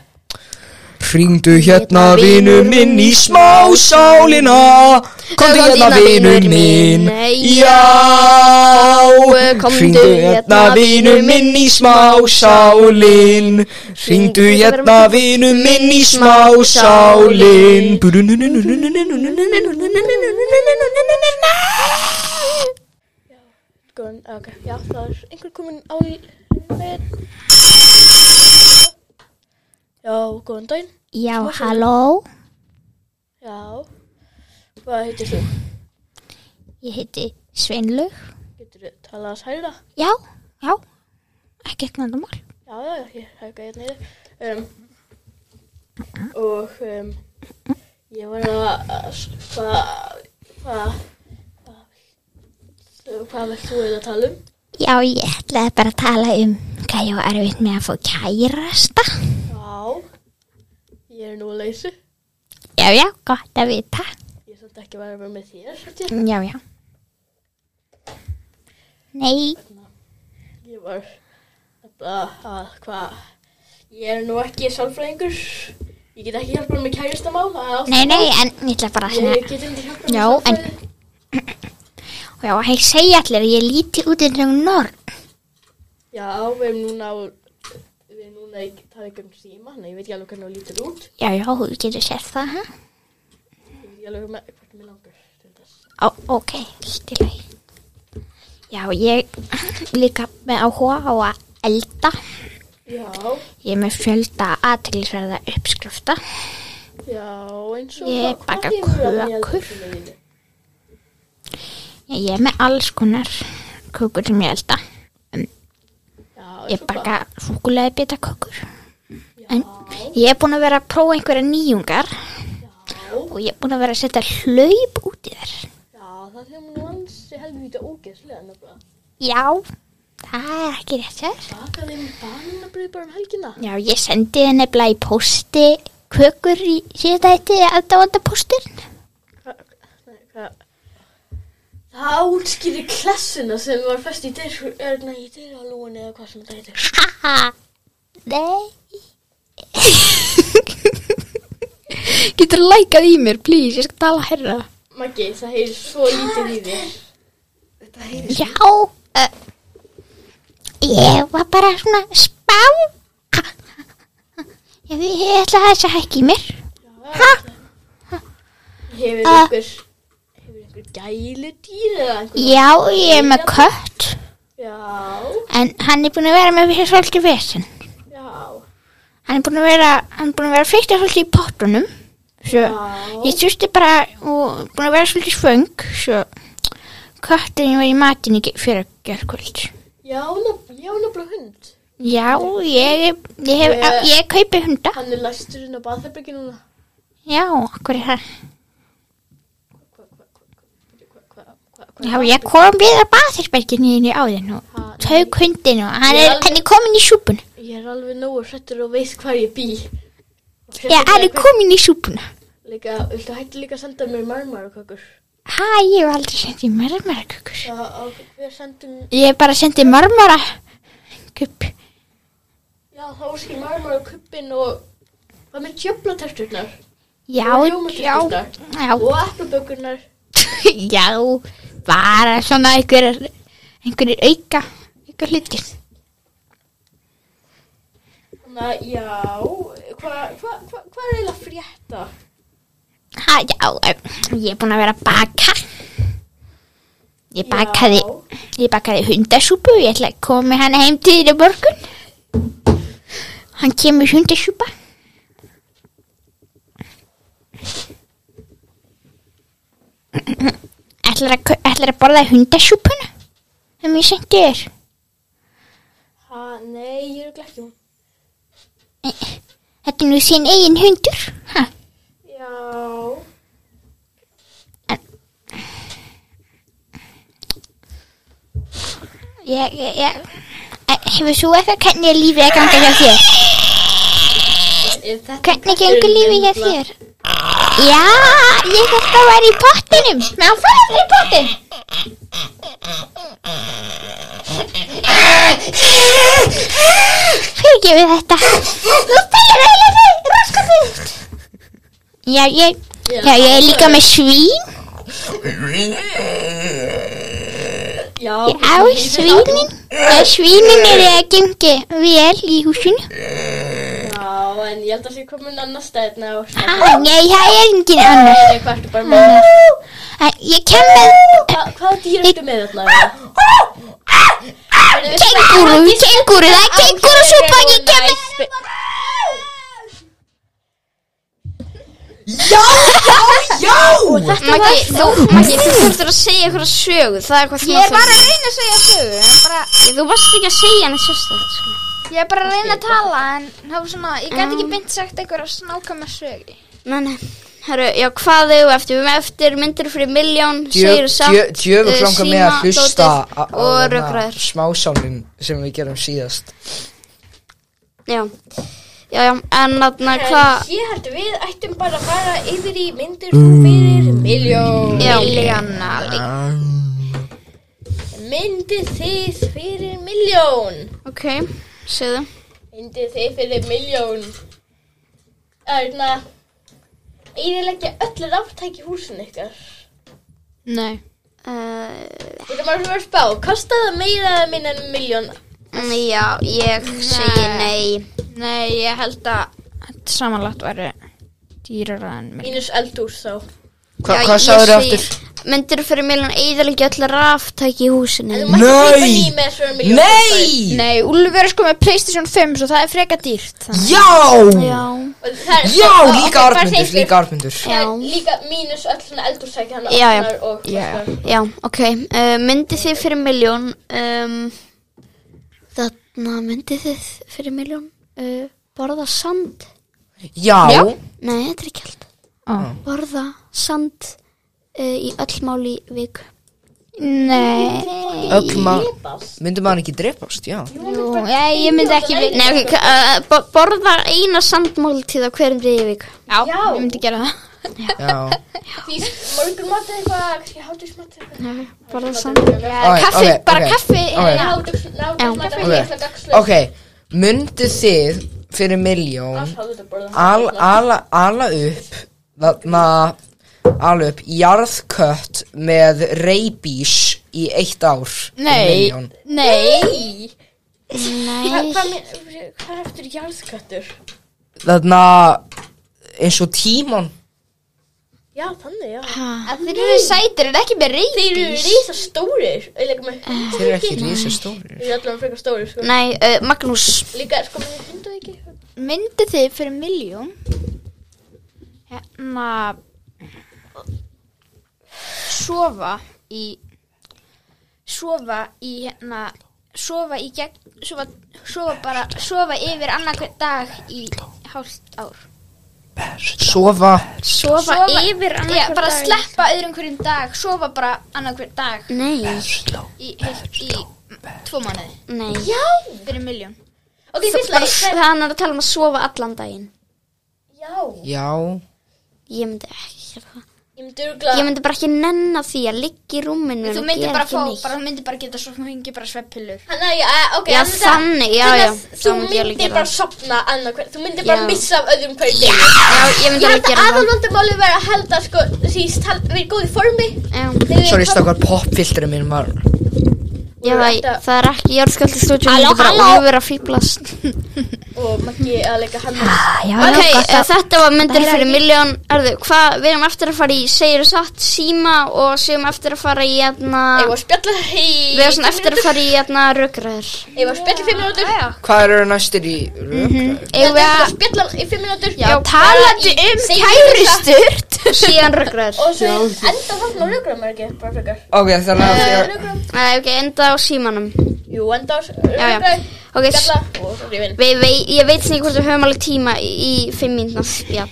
Hringdu hérna vinur minn í smásálina Komdu hérna vinur minn Já Hringdu hérna vinur minn í smásálin Hringdu hérna vinur minn í smásálin Góðan, Sko, ok, já, það er einhver komin á í með Já, góðan daginn Já, halló, Já Hvað heitir þú? ég heiti Sveinlug. Getur þú talað að særa? Já, já, ekki ekki vandamál. Já, já, já, ég hækka hérna í þér um, Og um, ég var að að s- Hvað Hvað hvað- Hvað vilt þú eiginlega tala um? Já, ég ætlaði bara að tala um hvað ég var erfitt með að fá kærasta. Já Ég er nú að leysu Já, já, gott að vita. Ég er samt ekki að vera með þér samt ég. Já, já. Nei, Ég var að, að hvað Ég er nú ekki sálfræðingur Ég get ekki hjálpað með kæristamál það er ástæðan. nei, nei, en ég ætla bara að Ég svona, get ekki hjálpað með Já, en- sálfræði já, hei, segja allir að ég líti út í drögn norn. Já, við erum núna á Við erum núna í tala ekki um síma Þannig að ég veit ekki alveg hvernig þú lítur út Já, já, þú getur sér það, hæ? Ég veit ekki alveg með, hvernig mér langar til þess Ó, ok, allt í lagi. Já, ég líka með áhuga á að elda. Já, Ég er með fjölda aðtilsverða uppskrifta. já, eins og Ég hvað- baka hvað hefur verið að nýja kökur. þessu með þínu? Ég er með alls konar kökur sem ég elda. Já, Ég eins og hvað? baka súkulega bita kökur. En ég er búin að vera að prófa einhverja nýjungar og ég er búin að vera að setja hlaup út í þær. Já, það hljóma nú ansi helvita ógeðslega nefnilega Já, það er ekki rétt sér. Bakaði um banabrið bara um helgina Já, ég sendi henni nefnilega í pósti kökur í síðan þetta aðdáðanda pósturinn. Hvað? Það útskýri klessuna sem var fest í dyr, er, nei, í dyralúin eða hvað sem þetta heitir. Haha, nei. Getur lækað í mér, please, ég skal tala herra Maggi, það heyrir svo lítið í þér. Já, uh, ég var bara svona að spá. Ha, Ég, ég ætla þess að hækki mér. Hefur Ah. einhver, hefur einhver gæludýr eða einhver? Já, ég er með kött, Já, en hann er búin að vera með fyrir svolítið vesen. já, Hann er búin að vera, hann er búin að vera fyrst að svolítið í pottunum. Svo já. ég þurfti bara, og búin að vera svolítið svöng, svo kötturinn var í matinni fyrir að gera kvöld. Já, nab- já, nabla hund. Já, ég, ég, hef, Ég- ég kaupi hunda. Hann er læstur inn á baðherbergi núna. Já, hvað er það? Hva, hva, hva, hva, hva, hva, hva? Já, ég kom við að baðhersberginni inn í áðin og Ha, nei. taug hundin og hann er, Já. hann er komin í súpuna. Ég er alveg nógu hrettur og veist hvar ég bý. hérna Já, hann er komin í súpuna. Líka, viltu hætti líka að senda mér marmarakökur? Hæ, ég hef aldrei sendið marmarakökur. Já, á- hver sendum Ég hef bara sendið marmara kupp. Já, þá var skil marmar og kuppin og hvað með tjöflaterturnar Já, Og já, rjómaterturnar. já, og applabökurnar. já, bara svona einhverjir, einhverjir auka, einhver hlutir. Þannig að, já, hvað hva, hva, hva er eiginlega að frétta? Hæ, já, em, ég er búin að vera að baka. Ég bakaði, ég bakaði hundasúpu, ég ætla að koma með hana heim til þér í morgun. Hann kemur hundasúpa. Ætlar að, kau- ætlar að borða hundasúpuna sem ég sendi þér. Ha, nei, ég er ekki hún. Þetta er nú sín eigin hundur. Ha, Já, Ég, ég, ég Eh, Hefur svo eitthvað hvernig er lífið að ganga hjá þér? Hvernig gengur lífið hjá þér? Já, ég þarf að vera í pottinum Ná, fara í pottin Fyrirgefið þetta Þú spyrir heila þig, raskatið Já, ég Já, ég er líka með svín Já, Ég á svínin Já, svínin er að gengi vel í húsinu já, en ég held að það sé komin annað stæðna og svona. Ah, Nei, það er engin annar Nei, hvað ertu bara með? Eh, Ég kem með Hva, hvaða dýr ertu með þarna? kenguru, kenguru, það er kenguru súpa Ég hérna. kem með Já! Maggi, þú, Maggi, þú þurftur að segja eitthvað sögu Það er eitthvað sem Ég er þú bara að reyna að segja sögu en bara, Þú varst ekki að segja henni sérstætt sko. Ég er bara að reyna að tala En það var svona, ég gæti ekki beint sagt einhverja snákama sögu Nei, nei Herru, já, hvað þau eftir? Við með eftir myndir fyrir miljón Segir þú samt eh, Djöfur langar mig að hlusta á- á Og þarna rökraður smásálinn sem við gerum síðast Já Já, já, en þarna hvað Ég held við ættum bara að fara yfir í myndir fyrir Mm. miljón Já, Myndir þið fyrir miljón ok, segðu Myndir þið fyrir miljón Örna Eðilegja öllu ráttæki húsin ykkar Nei Eh, Þetta maður fyrir að spá Kostaði það meira eða minna en miljón Já, ég segi nei Nei, ég held að þetta samanlagt væri dýrara en mér. Mínus eldús þá Hva, Já, Hvað ég sagður segi- aftur? Myndir fyrir miljón eðalegi öll ráftæki í húsinu En þú mætti kaupa Nei. ný með svona miljón Nei! Nei, Úlfur er sko með Playstation 5 svo það er freka dýrt. þannig- Já! Já, líka Arnmundur Arnmundur, líka Arnmundur Líka mínus öll svona eldúsæki hann Já, já. opnar og Já, kostar. Já, ok, uh, myndið þið fyrir miljón um, Þarna myndið þið fyrir miljón uh, Borða sand Já, Nei, þetta er ekki held Ó. Borða sand uh, í öll máli viku Nei, öll maður Myndi maður ekki dreipast, já jú, ég, ég myndi ekki við. Nei, ok, uh, bo- borða eina sandmál til það hverjum degi í viku Já, ég myndi gera það. Já, Því morgun matið eitthvað kannski hátíðismatið eitthvað Nei, Borða sand Ok, kaffi, ok, bara ok, kaffi. ok. Hátíðismatið Ok, myndu þið fyrir miljón al, ala, ala upp þarna ala upp jarðkött með reybís í eitt ár fyrir Nei, milljón? nei, Nei, Hvað er eftir jarðköttur? þarna eins og tímon Já, þannig, já Að þeir eru sætir, en ekki með reyð Þeir eru reysa stórir Þeir þeir eru ekki rísa stórir eru allavega frekar stórir sko. Nei uh, Magnús Líka, sko, mér hundu ekki myndi þið fyrir miljón. Hérna, sofa í, sofa í hérna, sofa í gegn, sofa, sofa bara, sofa yfir annar hver dag í hálft ár. sofa sofa, yfir annan já, hvern bara dag. sleppa öðrum hverjum dag sofa bara annar hvern dag Nei, í, heilt, í mm, tvo mánuði nei fyrir miljón Ok, fyrst Bara, lagi s- Hann er að tala um að sofa allan daginn Já, já, Ég myndi ekki gera það ég myndi örgla Ég myndi bara ekki nenn því að liggja í rúminu þú myndir bara fá, bara, þú myndir bara geta svo hengi bara sveppilur Hanna, já, eh, ok Já, hann myndi- þannig, já, þannig já, að þá Þú myndi ég alveg myndir gera bara það. sopna annað hver Þú myndir Já. bara missa af öðrum hverju degi Já, ég myndi Ég alveg held að gera það aðalvandamáli verið að halda, sko Síst, við erum góð í formi Já, Þegar sorry við komum- stakkar popfiltri minn var já það, Þetta- það er ekki járskjöldi stúdíu Halló, halló Ég myndi bara fýblast Og Maggi að leika hann Ok, eh, þetta var myndir fyrir miljón Erðu, hvað, við erum eftir að fara í Segir satt síma og séum eftir að fara í hérna Ég var spjalla í Við erum svona eftir að fara í hérna rökraður Ég var spjalla í fimm minútur hvað eru næstir í röp? Ég Eigum við var að spjalla í fimm minútur Já, talandi um kæristurt síðan rökraður Og svo enda þarna á raugram er ekki Bara frekar ok, þannig Eh, að þegar Raugram Nei, ok, enda á símanum Jú, enda á Já, já. raugram Ok, s- Spjalla Og svo rifin Við, við, ég veit ekki hvort við höfum alveg tíma í í fimm mínúna spjall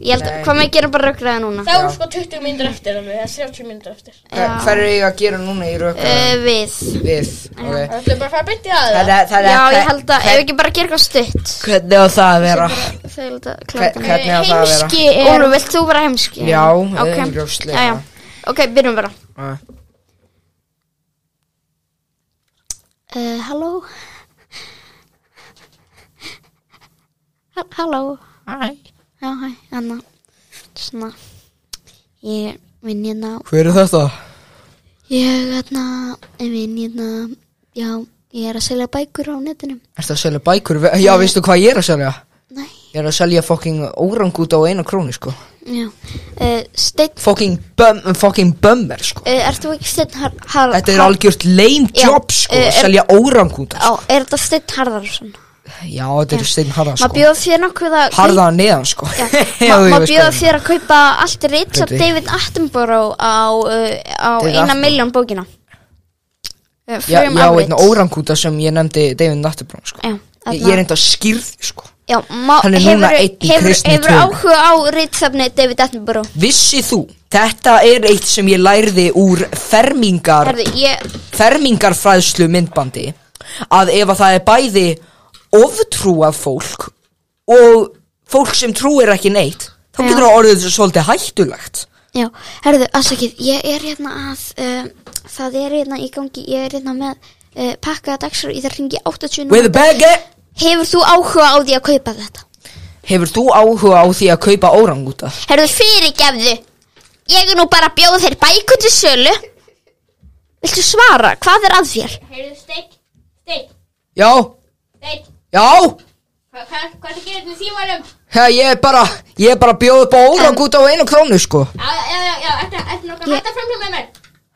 Ég held að, Nei. hvað maður gera bara rökraða núna? Það voru sko 20 myndir eftir alveg, eða 30 myndir eftir. Já. Hvað er ég að gera núna í röka? Uh, við. Við, ok. Það ætlum bara að fara beint í aðeins. Það er, það er, eh, Já, ég held að, ef ekki bara gera eitthvað stutt. Hvernig á það að vera? Þau held að klára Hver- þetta. Hvernig á það að vera? Heimski er... Ólu, vilt þú vera heimski? Já, ok. augljóslega. Já, já. Ok, byrjum bara. Ah. Uh, halló? Ha- Halló? Æ. Já, hæ, hérna. Anna. Svona, ég vinn hérna, Hver er þetta? ég hérna, ég vinn hérna, já, ég er að selja bækur á netinu. Ertu að selja bækur? Ve- Já, veistu hvað ég er að selja? Nei, Ég er að selja fucking órangúta á eina krónu, sko. já. Uh, Steinn, Fucking, bum, fucking bummer, sko. uh, ert þú ekki Steinn Har... har Þetta er algjört lame Eh, Já, job, sko. Að eh, er- selja órangúta. Á, er þetta Steinn Harðarsson? Sko. Já, þetta er stein harða, Má sko. bjóða þér nokkuð að... Harða að neðan, sko. Já, Já, má- ég má veist bjóða hvað ég meina. þér að kaupa allt Veit Richard ég. David Attenborough á, uh, á David eina Attenborough. miljón bókina uh, Já, Frum já, afrit. einn órangúta sem ég nefndi David Natterbrón, sko. Já, Ég, þarna- ég er enda skýrð, sko. já, má, hann er núna hefurðu- einn í hefurðu- kristni Hefur trú. áhuga á ritsafni David Attenborough Vissi þú, þetta er eitt sem ég lærði úr fermingar, Herðu, ég, fermingarfræðslu myndbandi að ef að það er bæði oftrúað fólk og fólk sem trúir ekki neitt þá getur það orðið svolítið hættulegt já, herðu, afsakið Ég er hérna að uh, það er hérna í gangi, ég er hérna með uh, pakkaða dagsrá í það ringi 80 With a núna. bag eh? Hefur þú áhuga á því að kaupa þetta? Hefur þú áhuga á því að kaupa órangúta? Herðu, fyrirgefðu Ég er nú bara að bjóða þér bækur til sölu Viltu svara, hvað er að þér? Heyrðu, steik, steik, Já, steik, já, hvað hva, hva er það að gera þetta með símanum? ja, ég er bara, ég er bara að bjóða upp á órangúta á einu krónu sko Já, já, já, já, ertu ertu nokkuð að hætta fram hjá með mér?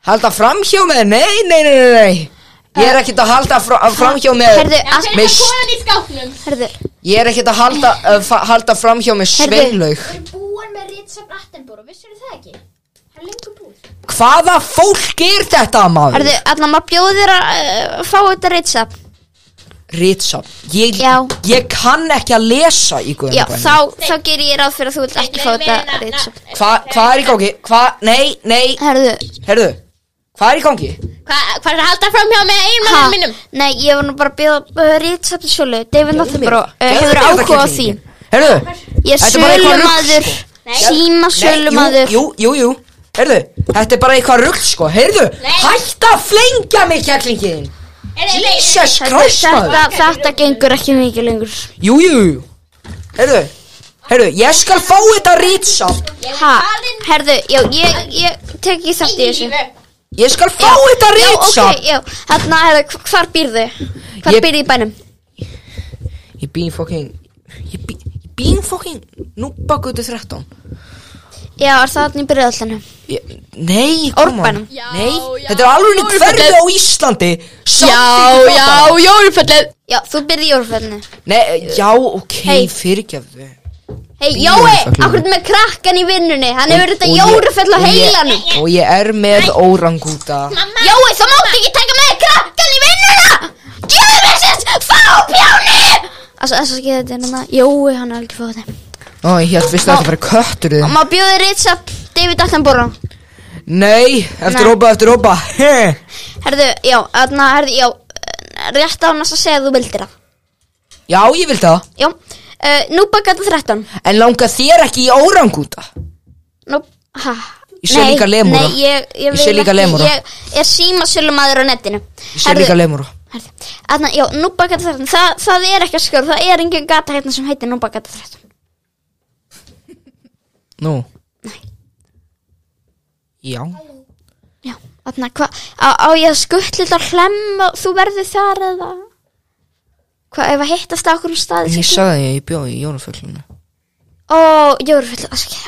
Halda framhjá með, nei, nei, nei, nei, nei Ég er ekkert að halda fra, framhjá með Herðu, Já, að, fyrir með það konan í skápnum. herðu Ég er ekkert að halda, uh, fa- halda framhjá með Heyrðu. sveinlaug Við erum búin með Richard Attenborough, vissir það ekki? Hann er lengur búið. Hvaða fólk er þetta maður? Herðu, allan maður bjóður þér að uh, fá þetta reitsafn Ritsam ég, Já. ég kann ekki að lesa í Já, guðanabænum þá, þá ger ég ráð fyrir að þú vilt ekki fá þetta reitsafn Hvað er í gangi? Hva, nei, nei, Herðu, herðu Hvað er í gangi? Hvað hva er það að halda fram hjá með ha, einmannum mínum? nei, ég var nú bara að bjóða uh, reitsafn til sölu David Nattenborough, uh, Gefðu hefur mér þetta áhuga á því kettlingin. Herðu, Ég er Þetta er bara eitthvað rugl, sölumadur, sko. síma Nei, sölumadur Jú, jú, jú, jú. Heyrðu, þetta er bara eitthvað rugl sko Heyrðu, hætt að flengja mig kjæklingin Jesus Christ maður Þetta, þetta gengur ekki mikið lengur Jú, jú, jú Heyrðu, heyrðu, ég skal fá þetta ritsam Ha, herðu, já, ég, ég tek ekki þátt í þessu Ég skal fá þetta Já, ritsam ok, já, hérna, herðu, hv- hvar býrðu? Hvar Ég- býrðu í bænum? Ég býn fokking Ég býn, ég býn fokking Núbagötu 13 Já, er það hann í byrjaðallinu? ég, Nei, koma Árbænum. Nei, þetta er alveg hverfi á Íslandi Já, Samþykki já, bara. jólföllin. Já, þú byrði í jólfellinu Nei, já, ok, Hey. hey. fyrirgefðu Hei, Í Jói, Jórfellinu. akkur með krakkan í vinnunni Hann hefur þetta Og ég- jólfell á og ég- heilanum Og ég er með órangúta Jói, þú mátt ekki taka með krakkan í vinnuna Gjöðu mér sérst, fá pjáni Alltså, þess að skilja þetta hérna Jói, hann er alveg fóð þeim Ó, ég held vist að þetta verið köttur þið Má bjóði Ritsa, David Attenborough Nei, eftir Nei. ópa, eftir ópa Heh. Herðu, já, þarna, herðu, já eh, Rétt á hann að segja að þú vildir það Já, ég vil það Já, uh, núpa gata 13 En langar þér ekki í órangúta? Nú, ha Ég sé líka lemúra. Nei, ég, ég, Ég sé vil líka ekki- lemúra. Ég er símasölumadur á netinu Ég sé líka lemur Herðu, aðna, já, núbakata 13 Þa, Það er ekki að skjóra, það er engin gata hérna sem heitir núbakata 13 Nú Já Já, aðna, hva, á, á ég að skuttla þetta hlemm og þú verður þar eða Hvað, ef að hittast á okkur um En staði ég sagði að ég bjóði í Jóraföllunum Ó, jóruföllin, aski,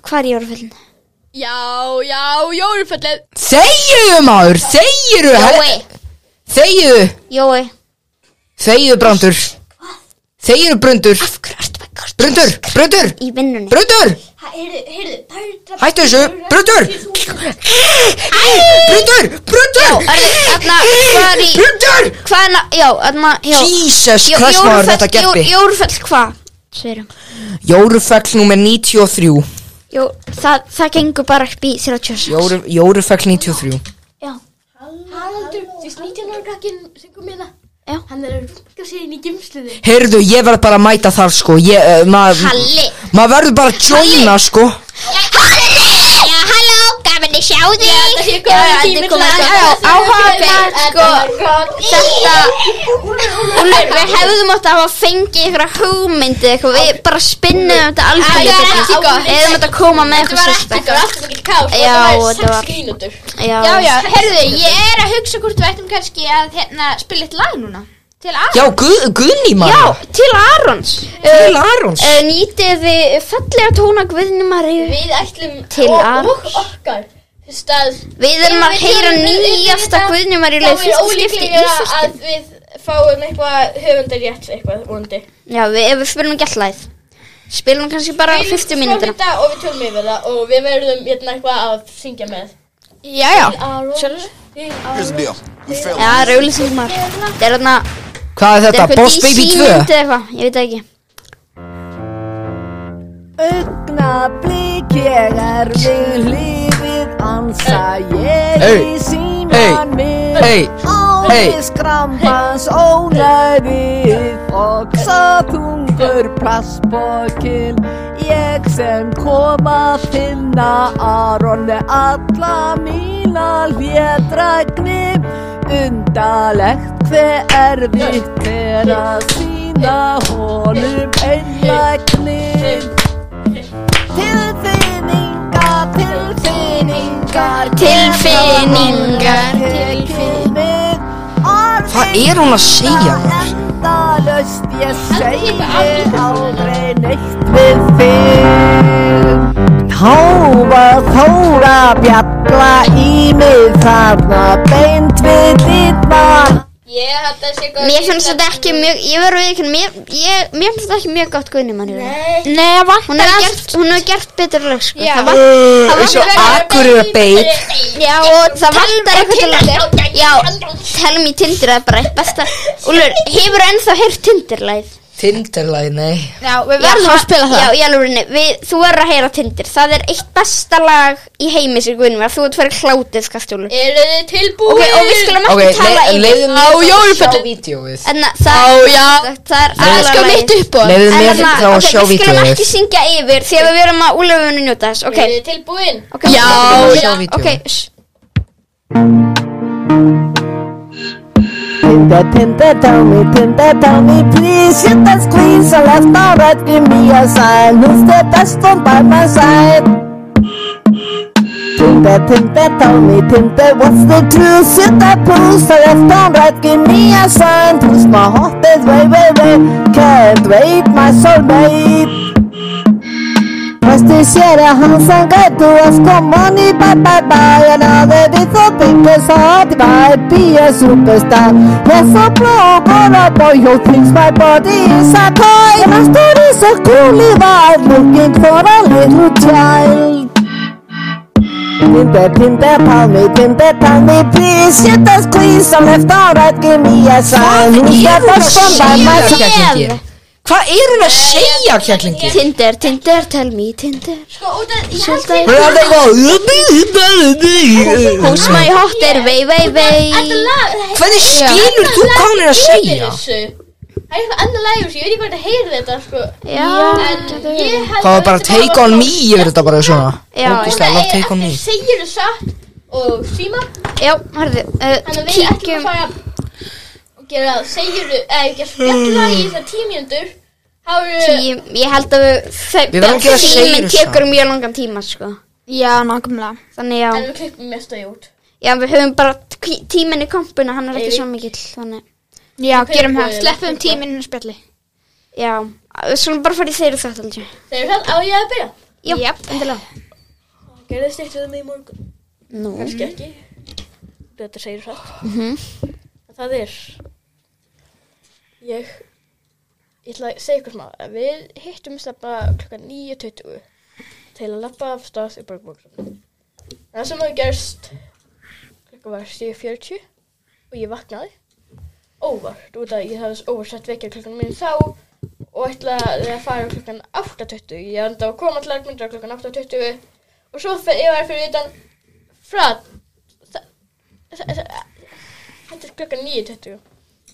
hvað er jóruföllin? Já, já, jólföllin. Þegiðu maður, þegiðu Jói, Þegiðu, Jói, þegiðu brandur Þegiðu brundur af hverju ertu með kort Brundur, brundur, í vinnunni? brundur Heyrðu, heyrðu, það er það. Hættu þessu, brundur Brundur, brundur Aðna, hvað er í, Brundur hvað er, na- já, aðna, já Jesus Christ Jó- maður, Jórufell- þetta Jó- geppi Jórufell hvað? Sverum. Jórufell nummer 93 Jó, það, það gengur bara upp í 36. Jóru, Jórufell 93 Haraldur, þú veist 19 ára krakkin sem kom hérna Já. Hann er að rugga sig inn í gimsluði Heyrðu, ég verð bara að mæta þar sko Ég, uh, maður Halli ma verður bara að joina sko Halli Já, halló, gaman að sjá þig Já, það sé góða tími Áhugaverð, sko, þetta, Úlfur, við hefðum átt að hafa fengið einhverja hugmyndi, eitthvað, við bara spinnum þetta algjörlega. Þetta var ekki gott. Við hefðum átt að koma með Þetta var eitthvað ekki sérstaklega. góð, allt mikið kás Já, þetta var þetta var- sex mínútur Já, Já, já, herðu, ég er að hugsa hvort við ættum kannski að hérna, spila eitt lag núna Til að Já, guð, Guðný Ah. Já, maður til Arons. Til Arons Uh, nýtið þið fallega tóna Guðnumaríu. Við ætlum Til og, Arons. og okkar Fyrst að Við erum að heyra nýjasta Guðnumaríu þá leið er fyrsta skipti í ólíklega Íslandsbyrjun. að við fáum eitthvað höfundar rétt eitthvað vondi Já, við, ef við spilum ekki allæð. Spilum kannski bara 50 mínútur. Við erum og við tölum yfir það og við verðum hérna eitthvað að syngja með Já, já. Sjálfur Here's the deal. We failed. Já, raulisingumar. Þetta er þarna... Hvað er þetta? eitthvað Boss DC Baby 2? mynd eða eitthvað, ég veit það ekki Augnablík ég er við lífið ansa ég Hey. í síman minn Hey. Hey. Áli skrambans ónæðið og saðungur plastbókin Ég sem kom að finna Aronni alla mína hlédragnir Undalegt hve erfitt er að sína honum einlægnir Tilfinningar, tilfinningar, Tilfinningar, tilfinningar Hvað er hún að segja? Endalaust ég segi aldrei neitt við þig Háva þóra bjalla í mig þarna beint við þitt mann Ég held að sé góð Mér finnst þetta ekki mjög, ég verður við ekki mér, ég, mér finnst þetta ekki mjög gott guðni mann Nei, Nei vantar hún hefur gert, hún hefur gert betur lög sko. Það vantar- Þessu akkurir beit Já, og það vantar eitthvað til að Já, telum í Tinder það er bara eitt besta Úlfur, hefur ennþá heyrt Tinder-læð? Tinderlæg, nei Já, við Já, verðum að spila það Já, í alvörinni, við, þú verður að heyra Tinder Það er eitt besta lag í heimi sér guðni mann Þú ert verið klátið, skastjúlur Eru þið tilbúin? Ok, og við skulum Ok, ekki tala le- leiðu Á, mér já, að sjá vídjóið En það, Já, já, það er Nei, það aðalega sko mitt upp og Leiðu mér hérna En þá þarna, að ok, sjá við skulum vídjóið ekki syngja yfir því að við verum að úlefum njóta þess, ok, Eru þið tilbúin? ok Já, Leiðu sjá Ok, vídjóið shh. Tinder, Tinder, tell me, Tinder, tell me, please. Hit that squeeze, a left or right, give me a sign. Who's the best one by my side? Tinder, Tinder, tell me, Tinder, what's the truth? Hit that pulse, a left or right, give me a sign. Who's my hottest, way, way, way? Can't wait, my soulmate. Pasti séra hann sem gætu að skoma hann í bye bye bye En aðeir við þó byggur satt í bye Be a superstar Yes, so blow, gone up all your things My body is a toy And I stood is so coolly wild Looking for a little child Tinder, Tinder, tell me, Tinder, tell me Please, shit, I squeeze Some left or right, give me a sign Who's the first one by my side? Kjæklingi Hvað er hún að segja, kjæklingi? Tinder, Tinder, tell me, Tinder Sko, út að ég held að Hún er alltaf eitthvað Who's my hot er vei, vei, vei Hvernig skilur þú hvað hún er að segja? þessu Það er eitthvað annað lag í þessu, ég veit ekki hvað þetta heyrði þetta sko Já, En ég held Það var bara þetta take on me yfir þetta bara svona Já, Ógislega látt take on me Þeir segir þau satt og síma já, hörðu, uh, Þannig að við ætlum að kíkjum fara og gera segir þau, eða ekki að spjalla í þessar tímjöndur Þá eru Tíu, ég held að við, þau- Við verðum að gera tíminn seiru tekur mjög langan tíma, sko Já, nákvæmlega Þannig já, En við klippum mest að ég út já, við höfum bara kví- tíminn í kompuna, hann er ekki svo mikill, þannig Já, gerum það, Tilbúið. sleppum tíminn og spjalli Já, við skulum bara fara í þeirra þátt aldrei Þeir eru satt á ég að byrja Já, Jöp. endilega Gerðist eitt við mig í morgun Nú, Kannski ekki Þetta segir þau satt Það er Ég Ég ætla að segja ykkur smá Við hittum stefna klukkan 9.20 Til að lappa af stað í borgmóksum Það sem hafði gerst Klukkan var 7.40 Og ég vaknaði Óvart, út að ég hafði óvarsett vekja klukkan minn þá og ætlaði að fara klukkan 8.20 ég enda að koma til Ermyndra klukkan 8.20 og svo fer ég var fyrir utan frá þa- þa- þa- þetta er klukkan 9.20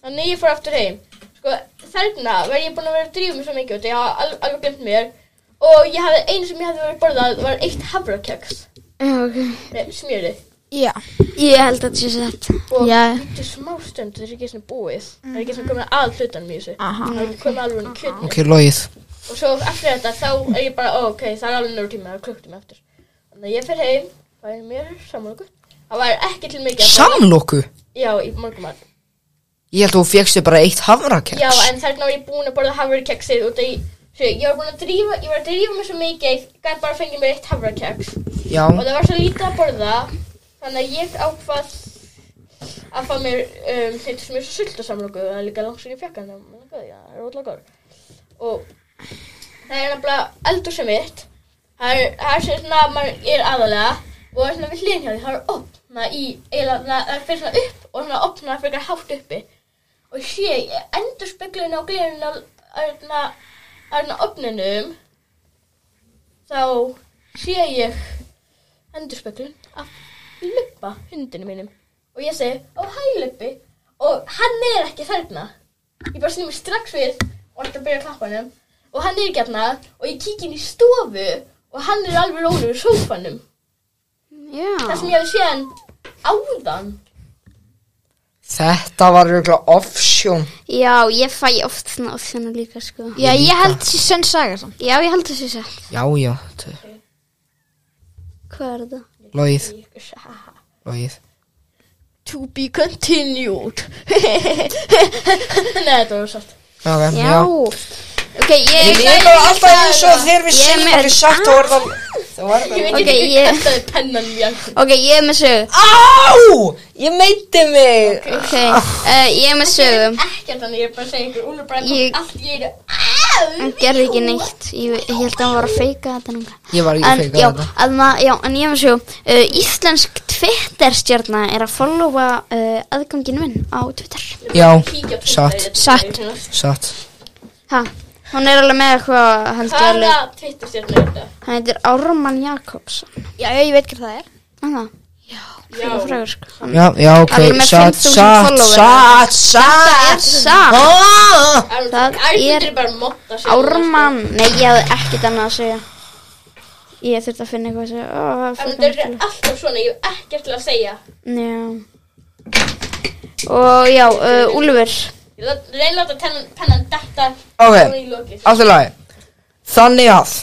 þannig ég fór aftur heim sko þarna var ég búin að vera að drífa mig svo mikið út ég hafði al- alveg glemt mér og ég hafði einu sem ég hafði verið að borðað var eitt havrakeks Ok. með smjöri Já. Ég held að þetta sé sett. og Já. þetta er smá stund þetta er ekki svona búið það er ekki svona komin að hlutanum í þessu Aha. það er ekki komin alveg um kjötni Ok, logið. og svo eftir þetta þá er ég bara ó, ok, það er alveg nörg tíma, það er klukktum eftir þannig að ég fer heim, það er mér samloku það var ekki til mikið að borða. Samloku? já, í morgumat Ég held að þú fegst þér bara eitt hafrakeks. já, en þarna var ég búin að borða havrakeksið og það Svo ég var búin að drífa, ég var að drífa mig svo mikið að ég gæti bara að fengja mér eitt havrakeks og Já. það var svo lítið að borða þannig að ég ákvað að fá mér um, þetta sem er svo sultasamlöku það er líka langt sem ég fekk hann það er rótla góð og það er nefnilega eldur sem mitt það er, það er sem svona maður er aðalega og það er svona við hliðin hjá því það er opna í eiginlega svona- það fyrir svona upp og svona opna fyrir hátt uppi og ég sé ég endur speglun á glerun á þarna þarna opninum þá sé ég endur speglun af luppa hundinu mínum og ég segi ó hæ luppi og hann er ekki þarna ég bara snýmur strax við og ætla að byrja að klappa hennum og hann er ekki hérna og ég kík inn í stofu og hann er alveg rólegur í sófanum Já. þar sem ég hefði séð hann áðan Þetta var auðvitað offsjón. Já, ég fæ oft svona ofsjónu líka, sko. Já, ég held þessi sönn saga samt. Já, ég held að þetta sé sett. Já, já. þetta- Hvað er þetta? Logið, logið. to be continued nei þetta var satt Ok, Já. já. Ok, Ég ég... líka alltaf eins og þegar við Ég er sem með- er sagt og orðan Það var ég það veit Ok, ekki ég- hvernig þetta er pennan mér Ok, ég er með sögu. Á! Ég meinti mig Ok, Ah. uh, ég er með sögu. ekki þannig ég er bara að segja ykkur Úlur bara Ég- kom allt í einu Au! Hann gerði ekki neitt. Ég, ég held að hann var að feika þetta núna. Ég var ekki En, feika já, þetta að maður, já, en ég hef að sjó uh, Íslensk Twitter-stjarna er að followa uh, aðgangin minn á Twitter Kíkja á Já, Twitter, satt, ég- satt. satt ha, hún er alveg með eitthvað held ég hvaða alveg, tvittustjörn er þetta hann heitir Ármann Jakobsson Já, já, ég veit hvað það er. hann það, já fyrir frægur sko hann Já, já, ok, Alveg með satt, 5.000 satt, followers. satt, satt er satt, Ah! það Það er ætlindur er bara að monta sig Ármann nei, ég hafði ekkert annað að segja ég þurfti að finna eitthvað að segja ó, En frekar þetta er merkilegt. alltaf svona, ég hef ekkert til að segja. já og já, uh, Úlfur Ég lát- reyni að láta tennan, pennan detta Ok, Ah, og í lokið. allt í lagi Þannig að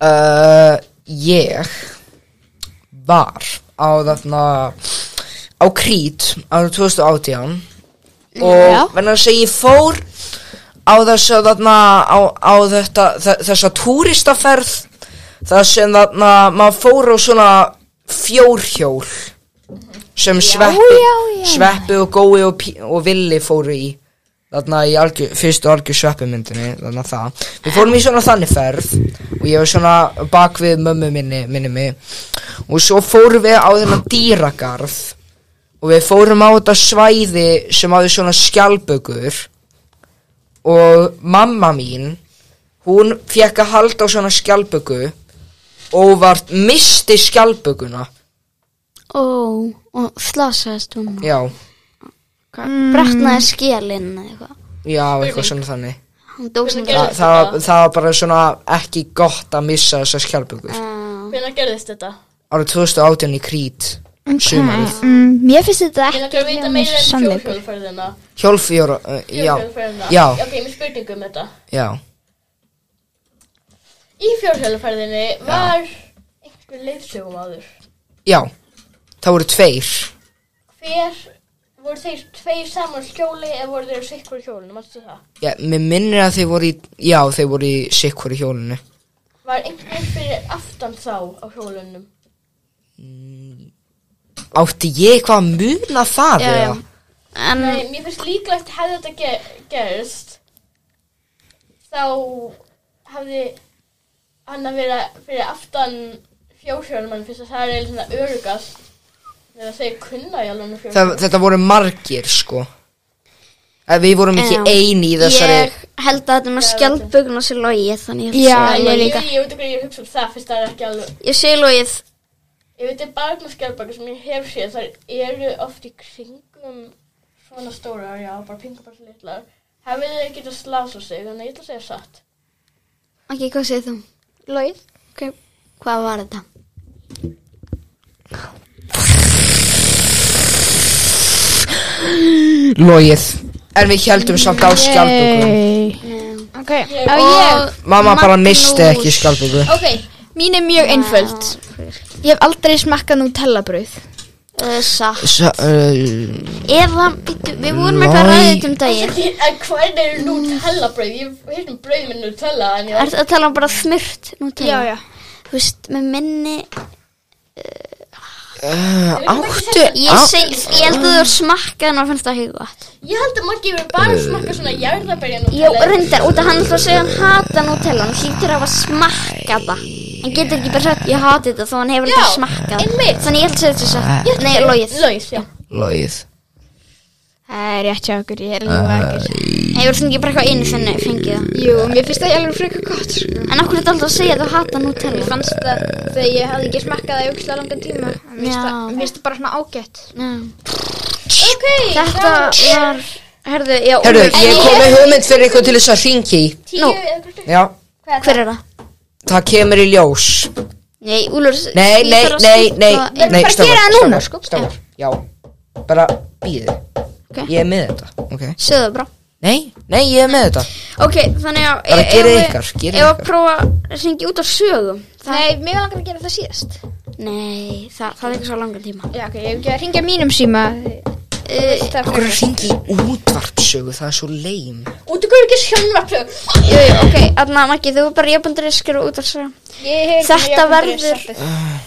uh, Ég Var á þarna Á Krít Árið 2018 Og verðan að segja ég fór Á þess að þarna Á, á þetta, þe- þessa túristaferð Það sem þarna Maður fór á svona fjórhjól Sem sveppu Sveppu og gói og, Pí- og villi fóru í þarna í algjör, fyrstu algjör sveppumyndinni þarna það, við fórum í svona þannig ferð og ég var svona bak við mömmu minni, minni mig og svo fórum við á þennan dýragarð og við fórum á þetta svæði sem hafði svona skjálbökur og mamma mín hún fekk að halda á svona skjálböku og var misti skjálbökuna ó, og slasaðist hún já, mm. bretnaði skélinn eða eitthvað já, eitthvað svona þannig hún dó sem Þa, það, var- það var bara svona ekki gott að missa þessar skjálpökur Hvenær gerðist þetta? Árið 2018 í Krít Sumarið Mm, mér finnst þetta Ég ekki langar að vita meira um en fjórhjólferðina. Hjólfjóra, uh, já, Fjórhjólferðina. já, Ok, ég er með spurningu um þetta. já Í fjórhjólferðinni var einhver leiðsögum áður. Já, það voru tveir Hver, voru þeir tveir saman á skjóli eða voru þeir sikkur hjólinu, mannstu það? Já, mér minnir að þeir voru í Já, þeir voru í sikkur í hjólinu Var einhver fyrir aftan þá á hjólunum? Átti ég eitthvað að muna það Já, eða? já. en Nei, mér finnst líklegt hefði þetta ger gerst þá hefði hann að vera fyrir aftan fjórhjörnumann fyrst að það er eiginlega svona örugast þegar þeir kunna í alveg Það, fjórhjörnum Þetta voru margir sko að Við vorum ekki Já. eini í þessari ég held að þetta með skjaldbökuna sé logið þannig ég Já, held að ég segja líka. logið. Ég, ég veit ekki hvað ég hugsa um það, fyrst það er ekki alveg Ég segi logið. Ég veit að barnaskjálpaka sem ég hef séð, þar eru oft í kringum svona stórar, já, bara pinga bara litlar. Hefði þið getað slásað sig, þannig að ég ætla að segja satt. Ok, hvað segir þú? Logið. Ok, hvað var þetta? Logið En við heldum samt á skjaldböku Ok, á Mm. ég Mamma bara misti ekki skjaldböku Ok, mín er mjög einföld Ég hef aldrei smakkað Nutella-brauð Uh, satt. S uh, Eða, býttu, við vorum eitthvað að Logið. ræða þetta um daginn. En hvað er Nutella brauð? Ég hef heyrt um brauð með Nutella, en ég Er að tala um bara smurt Nutella? Já, já Þú veist, með minni, Áttu ég á- segi, ég held að þú er smakkað en það fannst það ekki gott. Ég held að maður gefur Eh, bara smakka svona jarðabæja Jó, Nutella. reyndar, út af hann ætla að segja hann hata Nutella, hann hlýtur að hafa smakkað það. Hann getur ekki bara sagt, ég hati þetta, þó hann hefur aldrei smakkað. Einmitt. Þannig ég ætla að segja þetta satt. Nei, logið. Laus, já. Logið Það er rétt hjá okkur, ég er líka ekki Hefur þú ekki bara eitthvað einu sinni fengið það? Jú, mér finnst það ég alveg frekar gott sko. En okkur er þetta alltaf að segja að þú hata Nutella? Mér fannst það þegar ég hafði ekki smakkað það í aukslega langan tíma Mér finnst Já. það- mér finnst það bara svona ágætt Já. Þetta var... Herðu, já, Herru, Úlfur- ég kom með hugmynd fyrir ykkur til þess að ringi í Tíu eða hvert Já, Hver er það? það kemur í ljós Nei, sko, Úlur... Nei, nei, nei, nei, nei bara sko, stofar, gera það núna, stofar, stofar, já Bara býðu Ég er með þetta, ok Segðu það bara. Nei, nei, ég er með þetta Ok, þannig að... Bara ef- gerið ef við- ykkar, gerið Ef að ykkar. prófa að syngja út af sögum. Nei, mér langar að gera það síðast Nei, það, það er ekki svo langan tíma. Já, ok, ég hef ekki að ringja mínum síma Uh, Það er Okkur að ringi í útvarpsögu, það er svo leim Út og hvað er ekki sjónvarpöð? Jú, jú, ok, Anna Maggi, þú er bara jafnbundur að skrifa út af sögum. Þetta verður...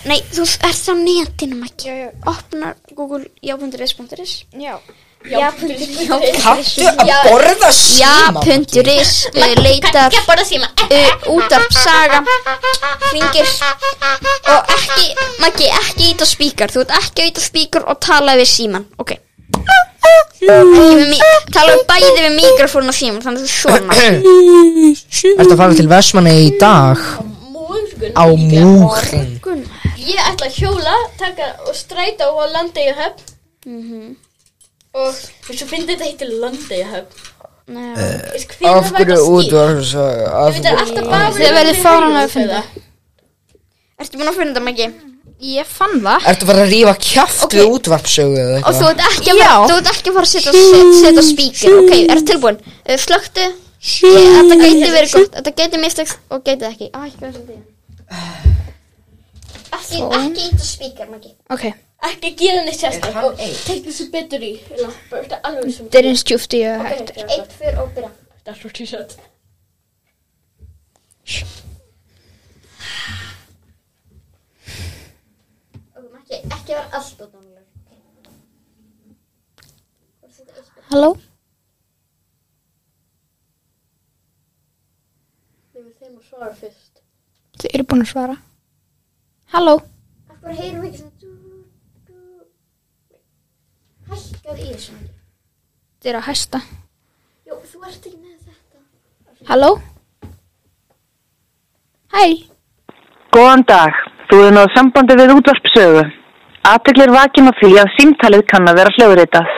Nei, þú ert á netinu, Maggi. Opnar Google jafnbunduris.is. Já Kanntu að borða síma? Ja.is, uh, leitar... Ég borða síma. uh, útarpsaga hringir og ekki, Maggi, ekki ít á spíkar þú ert ekki ít á spíkar og tala við síman ok Ekki við mí- tala við bæði við mikrofón og síman þannig að þú svona Ertu að fara til Vestmanni í dag Morgun. á múrin? Ég ætla að hjóla, taka og stræta og landa í höfn. Mhm. Og svo finnir þetta heitir landa í höfn. Eh, Af hverju útvarpsögu? af Þetta er hverju- alltaf bara Þið verðið fáránlega að finna ertu búin að finna þetta Maggi Ég fann það Ertu að fara að rífa kjaft við útvarpsögu eða og eitthvað? þú ert ekki að fara, þú ert ekki að fara að setja set, setja spíkar ok, ertu tilbúin uh, slöktu Ég- Eh, þetta gæti verið gott þetta gæti mistakst og gæti það ekki Æ, hvað er þetta í þér? ekki, ekki ít á spíkar Maggi Ok, Ekki gera neitt sérstaklega og tek þessu betur í. Þetta er alveg sem þetta er eins djúfti ég hef hægt Eitt fyrr og byrja. Þetta er svo tísat. Ekki, ekki var alltaf dónuleg. Halló? Við erum þeim að svara fyrst. Þið eru búin að svara Halló? Af hverju heyrum við ekki svona dú, dú. Hækkar í þessu. Þið eru að hæsta Jó, þú ert ekki með þetta. Halló? Hæ? Góðan dag. Þú hefur náðu sambandi við útvarpsögu. Aðteglir vakin á því að símtalið kann að vera hljóðritað.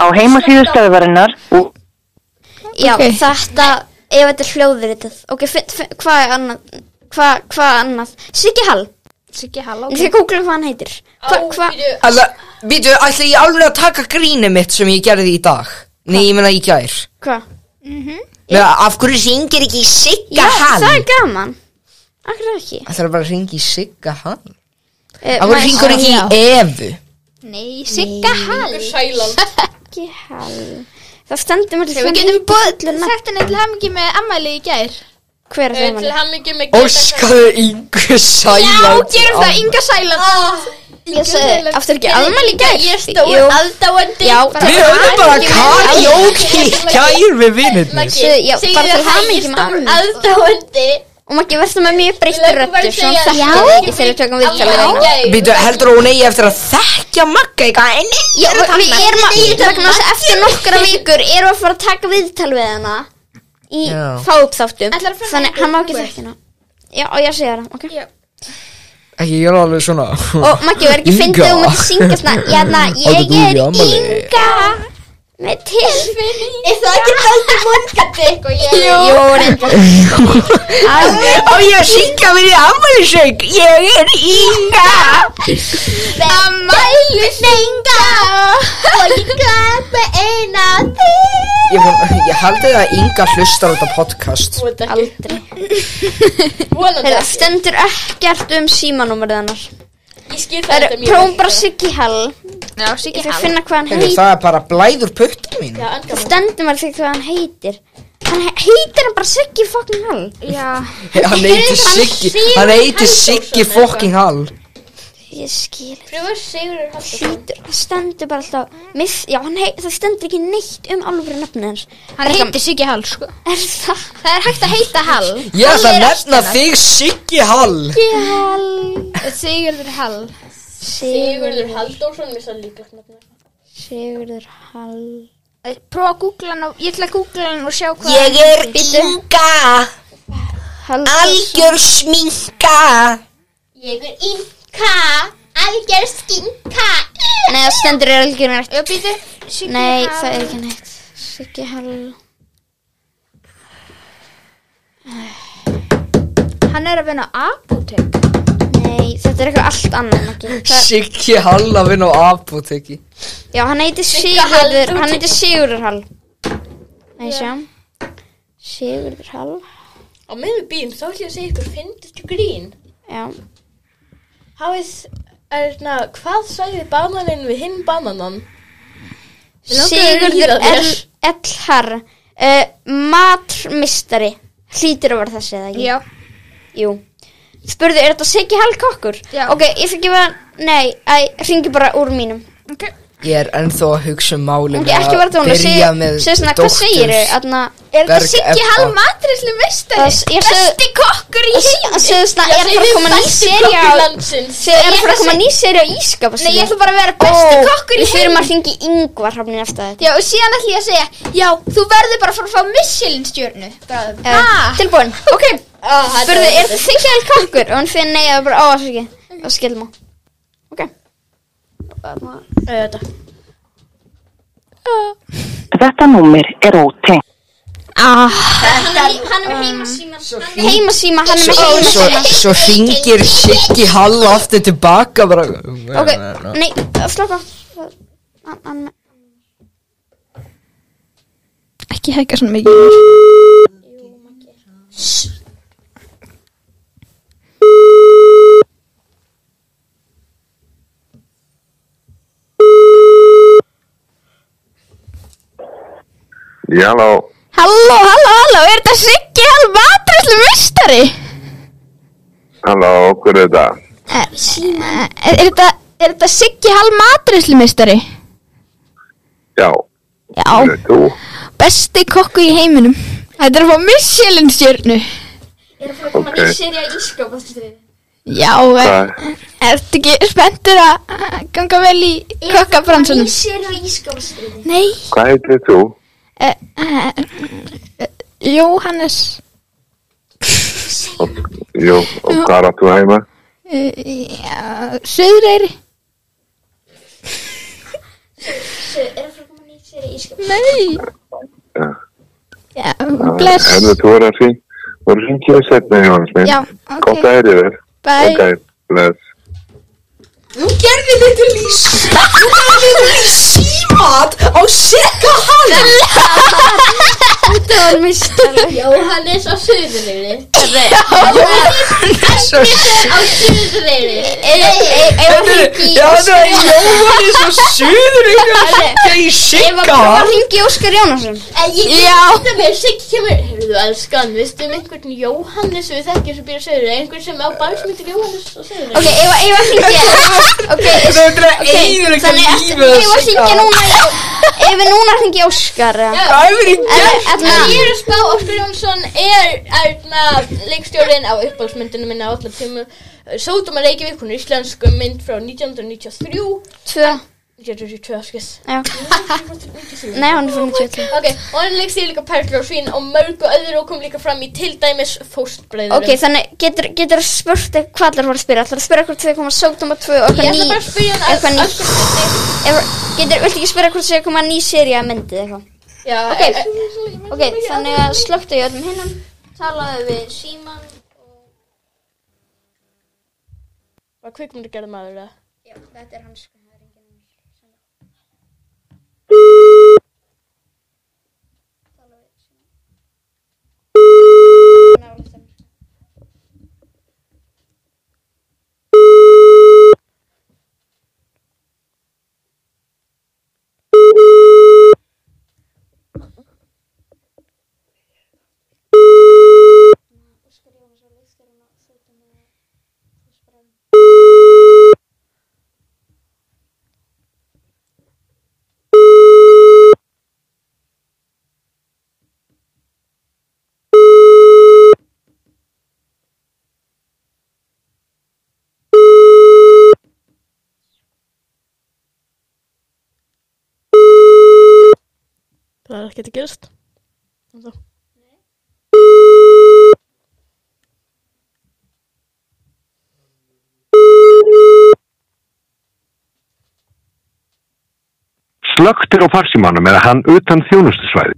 Á heimasíðu stöðvarinnar og Já, Ok. þetta, ef þetta er hljóðritað. Ok, finn- finn- hvað er annað? Hvað, hvað annað? Siggi Hall. Siggi, halló Okay. Ég googla hvað hann heitir. Hvað, hvað? byrju, Alla, býtu, ætla ég alveg að taka grínið mitt sem ég gerði í dag Nei, ég meina í gær Hvað? Nei, af hverju syngir ekki í Sigga Já, Hall? það er gaman. Akkur ekki. Það er bara að ringi í Sigga Hall Uh, Af hverju ringur ekki í Evu? Nei, Sigga, halló sælan. Siggi Hall. Það stendur mér til Við getum búið Sagt henni til hamingi með ammæli í gær Hver er Eh, það Til hann? hann ekki með Óskaðu yngu sæland gerum það, Ah, Inga Sæland Ég sagði, aftur ekki aðmæli í gær. Ég stóð aðdáandi. Já, Við höfum bara karaoke í gær við vinnirnir Maggi, Segðu- já, segðu bara til að hæ, hamingju ég með stóð afmælið. aðdáandi. Og maður verður með mjög breytta Við langar bara röttu að Svona segja- þekkjum Já. ekki þegar við tökum viðtalið Afmælið í gær. Býtu, heldur hún eigi eftir að þekkja Magga í gær? Nei, Já, um um við erum að, vegna þess að eftir nokkra vikur erum við að fara að taka viðtal við hana í Já. fáupþáttum Ætlarðu að fara þannig með hann má ekki Google? þekkja hana já, og ég segja það, ok Ekki, ég er alveg svona og Maggi, verður ekki fyndið að þú myndir syngja svona jæna, ég Áttu er þú í afmæli? Inga með tilfinning Er það ekki daldið vongandi eitthvað? Jú. jú, reyndar Á ég að syngja mér í afmælisöng Ég er Inga Amælu senga og ég klappa eina þig. Ég, von- ég haldi að Inga hlustar á þetta podcast Vonandi ekki. aldrei Vonandi Heyrðu, það ekki. stendur ekkert um símanúmerið hennar Ég skil það það eru prófum bara Siggi Hall Já, ég Siggi þarf að finna hvað hann Heyrðu, heitir Það er bara blæður putta mín Já, enda það stendur maður þegar hvað hann heitir hann he- heitir hann bara Siggi fucking Hall Já. Hann heiti Hann Siggi Sigurður Hann heiti Halldórsson Siggi eitthvað. fucking Hall ég skil ekki. Pröfur Sigurður Halldórsson. Hlýtur- það stendur bara alltaf miss, já, hann hei, það stendur ekki neitt um alveg fyrir nafnið hans Hann heitir Siggi Hall, sko. er það Það er hægt að heita Hall. Ég ætla að nefna þig Siggi Hall Sigurður Hall. Sigurður Halldórsson, mér það líka knapna. Sigurður Hall Eh, Prófa að googla hann og ég ætla að googla hann og sjá hvað. Ég er Bíddu. Inga Halldórsson Algjör sminka Ég er Inka, algjör skinka. nei, það stendur er algjör neitt Já, býtu. Siggi nei, Hall. það er ekki neitt Siggi Hall Hann er að vinna á apotek. nei, þetta er eitthvað allt annað Maggi. Það- Siggi Hall að vinna á apoteki já, hann heitir Sigurður hann heitir Sigurður Hall nei, sjá Sigurður Hall Á meðum bíum þá ætlum ég að segja ykkur, finnst ykkur grín? já, Hafið, erna, hvað sagði bananinn við hinn bananan? Mig langar að Sigurður ríða þér. L- Elhar uh, matrmistari hlýtur að vera þessi eða ekki Já. Jú. Spurðu, er þetta Siggi Hall kokkur? Já. Ok, ég fyrir ekki bara, nei, æ, ringi bara úr mínum. Ok. Ég er ennþá að hugsa um máli Hún er ekki að vera tónu, byrja með segja svona, hvað segir þau? Þarna, Er þetta Berg Siggi Ebba. Hall matrislu mistari? Það- ég seg- Besti kokkur í heim. segðu svona, er það að koma ný seri á, Kokkur landsins. segðu, er Ég það ætla að koma ný seri á ískapa? Nei, ég ætla bara að vera besti kokkur í Við heim. fyrir að ringi yngvar hafnir eftir þetta. Já, og síðan ætlum ég að segja, já, þú verður bara að fara að fá Michelin stjörnu, bráðum. Eh, Tilbúin. Ok. Spurðu, er þetta Siggi Hall kokkur? Og hún fyrir nei, það er bara, ó, það er ekki, það skilma. Ok. Þetta. Þetta númer er ótengt. Ah. Hann er með heimasíma. Heimasíma, hann er með Svo, heimasíma. svo ringir Siggi Hall aftur tilbaka bara Ok, nei, slaka Hann- hann- Ekki hækka svona mikið. Já, halló. Halló, halló, halló, er þetta Siggi Hall matræslu mistari? Halló, hver er þetta? Eh, Er er þetta, er þetta Siggi Hall matræslu mistari? Já, hver Já, er þú? besti kokku í heiminum. Þetta er að fá Michelin stjörnu. Ok, Já, er, hvað? ertu ekki spenntur að ganga vel í kokkabransunum? Sér á ískapastríði. Nei, Hvað heitir þú? uh, uh, Jóhannes, Jú, og hvað er þú heima? uh, já, Suðreiri. Nei Já. Já, bless Hefðu þú verið að syng? Voru syngið að setna í hans minn? Já, ok. Gott að heyri þér. Bye. Ok, bless. Þú gerði þetta lýs Þú gerði þetta lýs símat á Sigga Hall Þetta var mistari Jóhannes á Suðurleyri. Já, það er Jóhannes og Suður ykkur Þegar ég Sigga Hvað Hall hringi Óskar Jónasson? Þetta með Siggi kemur, heyrðu elskan, veistu um einhvern Jóhannes við þekkjum sem býr á Suðurleyri, einhvern sem á barsmyndir Jóhannes á Suðurleyri? Ok, ef að- ef að hringi Það er að eigður eitthvað Þannig að lífið ef að hringi núna í- Ef við núna hringi Óskar eða? Það er verið En gert þarna, Ég er að spá Óskar Jónsson er erna leikstjórin á uppáhaldsmyndinu minna á allar tímu Sótum að Reykjavík, hún er íslensku mynd frá 1993 tvö 1972, skis. Já. Nei, Nei, hún er frá 92. Ok, og hann leik sér líka perlur og svín og mörgu öðru og kom líka fram í til dæmis fóstbreiður. Ok, þannig getur, getur spurt hvað allir voru að spyrja? Allir að spyrja hvort þau koma sótum og tvö og Ég eitthvað ætla ný... bara að spyrja hann Eitthvað að- ný... Eitthvað, getur, viltu ekki spyrja hvort þau koma ný séri að myndið eitthvað? Já, eh, Ok, ok, þannig að slökktu ég öllum hinnum, talaðu við síman... Var kvikmyndu gerð maður það? Já, þetta er hans... Það er ekkert að gerast. Ennþá. Slögtir á farsímanum eða hann utan þjónustusvæði.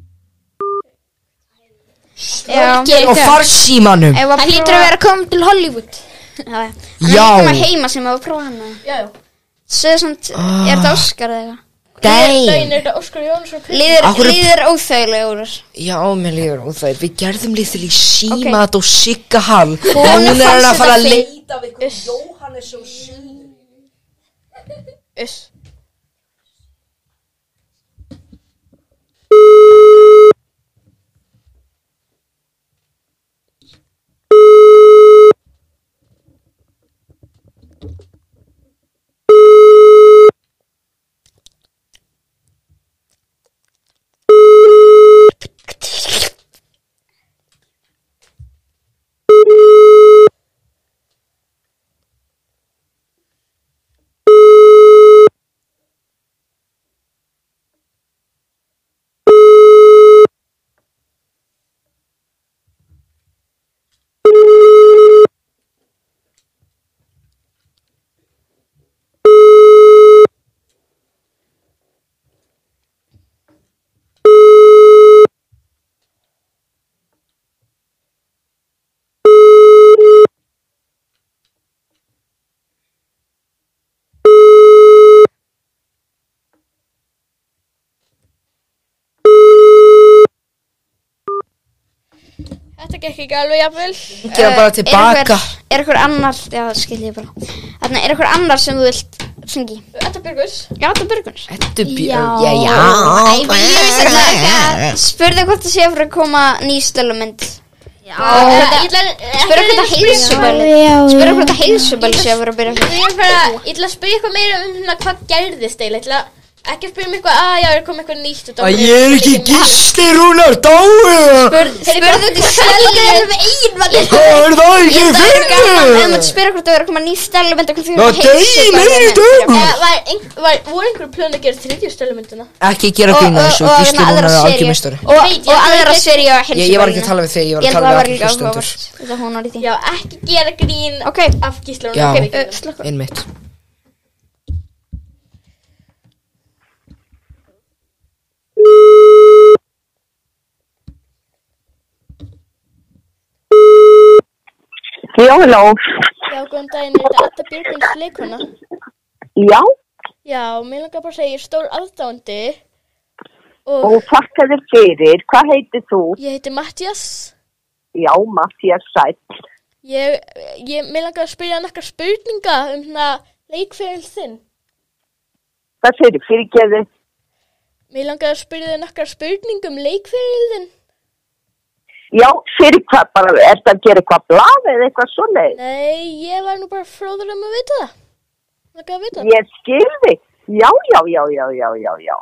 Slökktir á farsímanum. Það hlýtur að vera að koma til Hollywood. Já, já. Hann Já. er ekki maður heima sem hefur prófað hann. Já, já. Sveðsamt, Ah. er þetta Óskar eða eitthvað? Dæn. Dæn er þetta Óskar Jónsson Líður, Af hverju- líður óþægilega úr þessu. Já, mér líður óþægir. Við gerðum lítil í símat og sigga hann. Honum En hún er fannst að fara þetta að fínt. leita. Jóhannes og Sýn. Iss. Þetta gekk ekki alveg jafnvel. Gera bara Eh, tilbaka. Er eitthvað annar, já það skil ég bara. Þannig, er eitthvað annar sem þú vilt syngi? Þetta Björgus. Já, þetta Björguns. Þetta Já, Æ, við erum sem laga. Spurðu hvort það sé að fara að koma ný stölumind. Já. Eh, Ég ætla Spurðu hvort það heilsubæli. Spurðu hvort það heilsubæli sé að fara að byrja. Ég er bara, ég ætla að spyrja eitthvað meira um hérna hvað gerðist eiginlega. Ég ætla ekki að spyrja um eitthvað, að já, er komið eitthvað nýtt og Að ég er ekki gisti rúnar dáið. Spurðu hvort það stölumind. Það er það ekki Ef maður fyrir. spyrur hvort það er að koma ný stölumind og hvort það Ná, er degi, meiri Eða, dögum. Eh, Var, ein, var, voru einhverju plöðin að gera þriðju stöðlumyndina? Ekki gera grín að þessu, Gísli Rúnar er algjörmestari. Og og aðra seri á Ég, heilsubælinu. ég var ekki að tala við þig, ég var að tala við held það var allir líka hlustendur. áhugavert. Þetta hún var í því. Já, ekki gera grín af gíslunum. Já, okay, einmitt. Já, hello. Já, góðan daginn, er þetta Adda Björgvins leikona? Já, Já, mér langar bara að segja, ég er stór aðdándi. og þakka þér fyrir. Hvað heitir þú? Ég heiti Mattias. Já, Mattias Sætt. Ég, ég, mér langar að spyrja hann eitthvað spurninga um hérna leikfegil þinn. Hvað segir fyrirgeðu? Mér langar að spyrja hann eitthvað spurningum um leikfegil þinn. Já, fyrir hvað bara, er það að gera eitthvað blað eða eitthvað svoleið? Nei, ég var nú bara fróður um að vita það. Langar að vita það. Ég skilði. Já, já, já, já, já, já, já.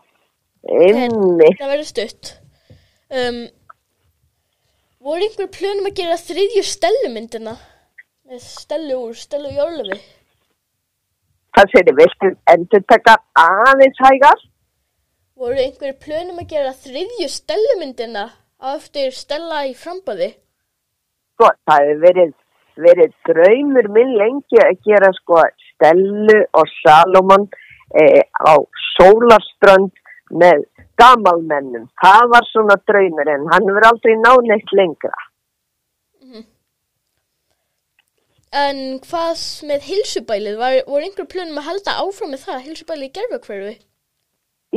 Einmi. Það verður stutt. Um, voru einhver plönum að gera þriðju stellumyndina? Með stellu úr, stellu jólufi. Það segir, viltu endur taka aðeins hægar? Voru einhverju plönum að gera þriðju stellumyndina á eftir stella í framböði? Sko, það hefur verið, verið draumur minn lengi að gera sko Stellu og Salomon eh, á sólaströnd með gamalmennum. Það var svona draumur en hann verið aldrei náneitt lengra. En hvað með hilsubælið? Var, voru einhverju plönum að halda áfram með það, hilsubælið í gerfakverfi?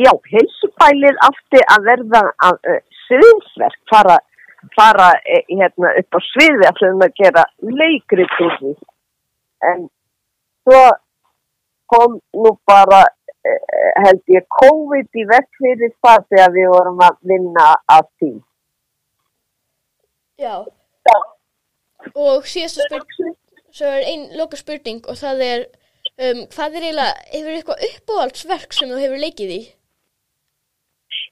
Já, heilsubælið átti að verða að, uh, sviðsverk, fara, fara eh, hérna, upp á sviði að hljóðum að gera leikrit úr því. En svo kom nú bara, uh, held ég, COVID í vekk fyrir það þegar við vorum að vinna að því. Já. Og síðasta spurning, svo er einn loka spurning og það er, um, hvað er eiginlega, hefur eitthvað uppáhaldsverk sem þú hefur leikið í?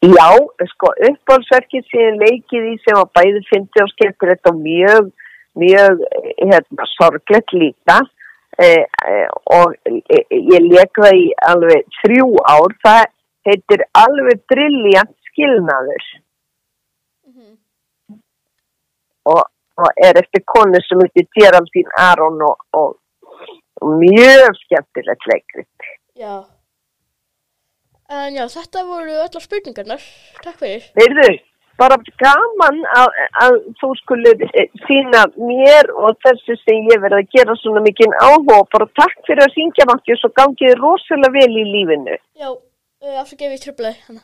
Já, sko, uppáhaldsverkið sem ég leikið í sem að bæði fyndi og skemmur þetta mjög, mjög, eh, hérna, sorglegt líka eh, eh, og eh, ég leik það í alveg þrjú ár, það heitir alveg brilljant skilnaður og, og er eftir konu sem heitir Geraldine Aron og, og, og mjög skemmtilegt leikrið. Já. En já, þetta voru allar spurningarnar. Takk fyrir. Heyrðu, bara gaman að, að þú skulur eh, sína mér og þessu sem ég verið að gera svona mikinn áhuga og bara takk fyrir að syngja makki og svo gangið þér rosalega vel í lífinu. Já, uh, afsakið við tröflaði hana.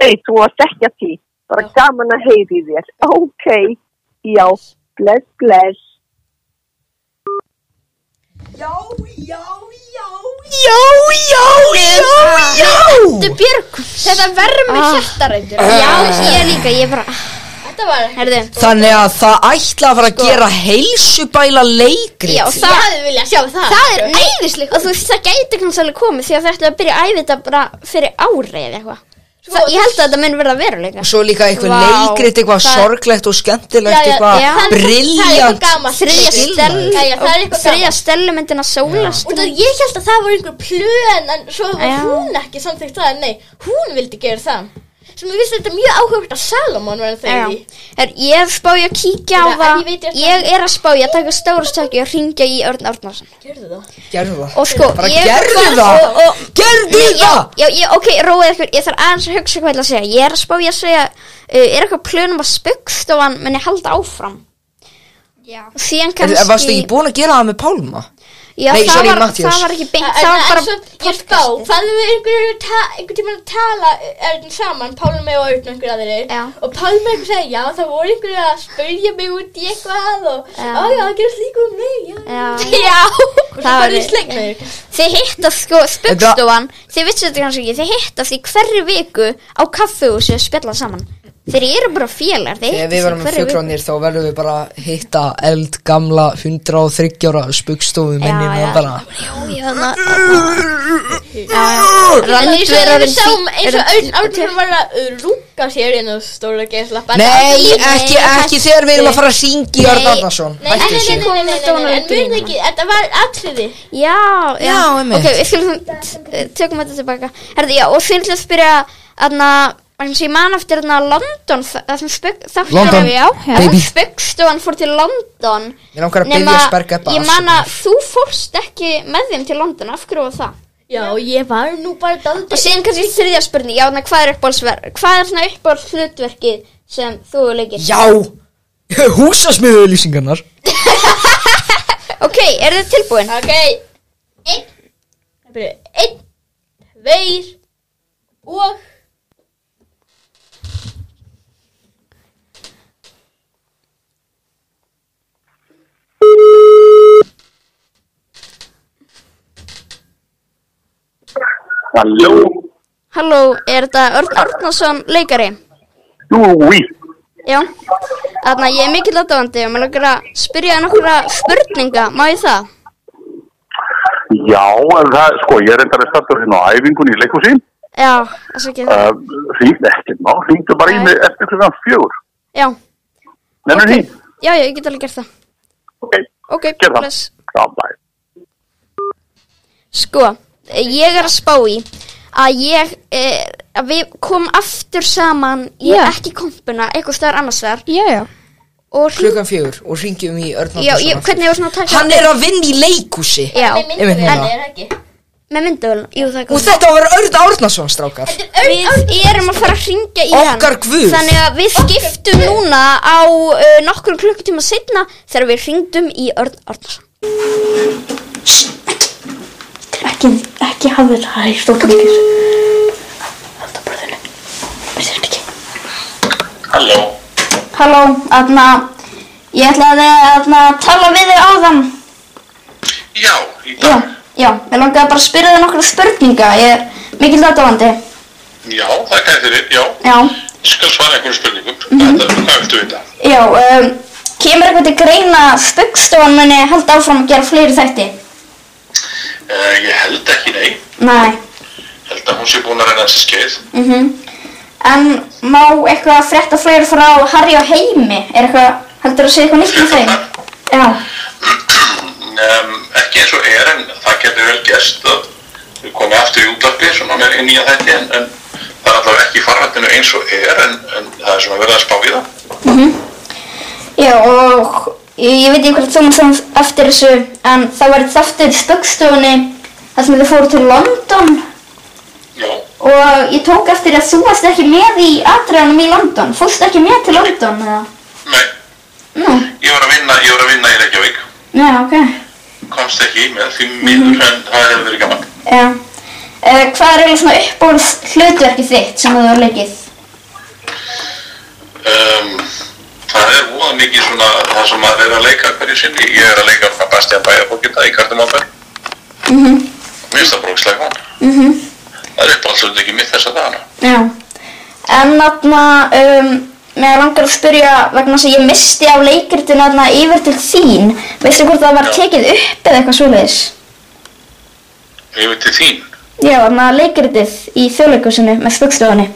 Nei, þú varst ekki að því. Bara gaman að heyri þér. Ok, já, bless, bless. Já, já, já, já, já, já, já. Þetta björg, þetta verður mig hjartarættur. Já, ég líka, ég bara... Þetta var... Herðu, Þannig að það ætla að fara að gera heilsubæla leikrit Sko. Já, það hefði viljað sjá það Það er æðisleik Og þú veist, það gæti kannski alveg komið Því að það ætla að byrja að æfi þetta bara fyrir ári eða eitthvað Það- Ég held að þetta mun verða veruleika Og svo líka eitthvað Vá. leikrit, eitthvað Það- sorglegt og skemmtilegt, eitthvað brilljant Þriðja stell- Æja, það er eitthvað Þriðja stellumyndina Út sólast af ég held að það voru einhver plön en svo var Já. hún ekki samþygt það, nei, hún vildi gera það. Sem ég vissi þetta er mjög áhugavert að Salomon var Já. þegar í. Er, ég er spáði að kíkja á Þetta- en ég það veit ég- Ég er að spáði að taka stóru stökki og ringja í Örn Árnarsson Gerðu það. Gerðu það Og sko, Bara ég- gerðu og- það og- og- Gerðu Ég- það Já, já, ok, róið ykkur, ég þarf aðeins að hugsa hvað ég ætla að segja Ég er að spá ég að segja, uh, er eitthvað plönum að spugstofan menn ég halda áfram Já Síðan kannski En Varstu ekki búin að gera það með Pálma? Já, Nei, það, sorry, var, Matthías. það var ekki beint, En- það var en- bara En svo, ég spá, hvað við einhverjum ta einhver tíma að tala Örn saman, Pálmi og Örn og einhver aðri já. og Pálmi einhver segi, já það voru einhverju að spurja mig út í eitthvað og já, Já. já það gerist líka um mig, já Já, og svo bara í sleik með þér Þið hittast sko spugstofan Þið vissu þetta kannski ekki Þið hittast í hverri viku á kaffuhúsi og spjalla saman Þeir eru bara félar Þið Þegar við hittast verðum í með hverri viku fugglónir þá verðum við bara að hitta eld gamla 130 ára spugstofu minni Já, já. mótana Já, já, þarna- þarna- En Rand eins er og við orðin sáum fí- eins og orðin- Örn Árnason var að uh, rúka sér inn á stóra geislappa Nei, ekki, ekki þegar við erum að fara að syngja í Örn Nei, Arnarsson Nei, nei, nei, nei, nei, nei, nei, nei, en Donald mun ekki, þetta var atriði Já, já, Já, einmitt. Ok, við skulum t- tökum þetta tilbaka Herði, já, og þeir til að spyrja Þannig að Ég man eftir þarna London Það sem spögg London, baby. Spöggstofan fór til London Mér langar að Nema, byggja sperga upp Ég man að þú fórst ekki með þeim til London Af hverju var það? Já, ég var nú bara daldi Og síðan kannski þriðja spurning, já, na, hvað er uppáhaldsverk? Hvað er svona uppáhalds hlutverkið sem þú leikir? Já, húsasmiðu lýsingarnar Ok, er þið tilbúin? Ok, einn, byrju, einn, tveir og Halló, Halló, er þetta Örn Árnason leikari? júi, Já. Þannig að ég er mikill aðdáðandi og maður langar að spyrja nokkura spurninga, má ég það? já, en það, sko, ég er endar að starta hérna á æfingunni í leikhúsi. Já, það sé ekki það. Uh, Ringd ekkert má, ringdu bara í mig eftir klukkan fjögur. Já, Nennir því? já, já, ég get alveg gert það. Ok, Ok, gerð það. bless. Já, bæ. Sko, ég er að spá í að ég, e, að við komum aftur saman, ég Já. er ekki í kompuna, eitthvað stöðar annars þar. Já, já. Og hring- klukkan fjögur og ringjum í Örn Já, ég, Halldórsson hvernig ég var svona að aftur. taka... Hann er að vinna í leikúsi Já. Einmitt núna. ekki? Með myndavél, jú, það er Og þetta á að vera Örn Árnason, strákar Við erum að fara að ringja í hann Okkar guð. Þannig að við skiptum núna á uh, nokkur klukkutíma setna þegar við ringdum í Örn Arnarsson Ekki, ekki hafa það í stokkamýr. Halló, aðna, ég ætlaði aðna að tala við þig áðan. Já, í dag. Já, já, ég langaði bara að spyrja þig nokkra spurninga, ég er mikil datavandi. Já, það gæti þér, já. Já, Ég skal svara einhverjum spurningum. Mhm. Þetta er hvað viltu vita? já, um, kemur eitthvað til greina að spaugstofan muni halda áfram að gera fleiri þætti? Uh, ég held ekki, nei. Nei, Held að hún sé búin að reyna þessi skeið. mhm. En má eitthvað að frétta fleiri frá Harry og Heimi? Er eitthvað, heldur að segja eitthvað nýtt með þeim? Já, Um, ekki eins og er, en það getur vel gerst að við komum aftur í útvarpi, svona með í nýja þætti, en, en það er allavega ekki í farrættinu eins og er, en, en það er svona verið að spá í það. mhm. Já, og ég, ég veit ekki hvort þú maður það eftir þessu, en það var eitt þáttur í spöggstofunni þar sem þau fóru til London. Já. Og ég tók eftir að þú varst ekki með í atriðanum í London. Fórstu ekki með til London, eða? Nei. Ég var að vinna, ég var að vinna í Reykjavík, Nú, já, ok. komst ekki með því miður, en það hefur verið gaman. Já. Uh, hvað er eiginlega svona uppbóðs hlutverkið þitt sem þú hefur leikið? Um, það er óða mikið svona það sem maður er að leika hverju sinni. Ég er að leika frá Bastian Bæjarbókinda í Kartumálberg. Mhm, Mér finnst það brókslega gaman. mhm. Það er uppáhaldsöld ekki mitt þessa dagana. Já, en þarna, um, mér langar að spyrja vegna þess að ég misti á leikritinu þarna yfir til þín. Veistu hvort það var tekið upp eða eitthvað svoleiðis? Yfir til þín. Já, þarna leikritið í þjóðleikusinu með spöggstofunni.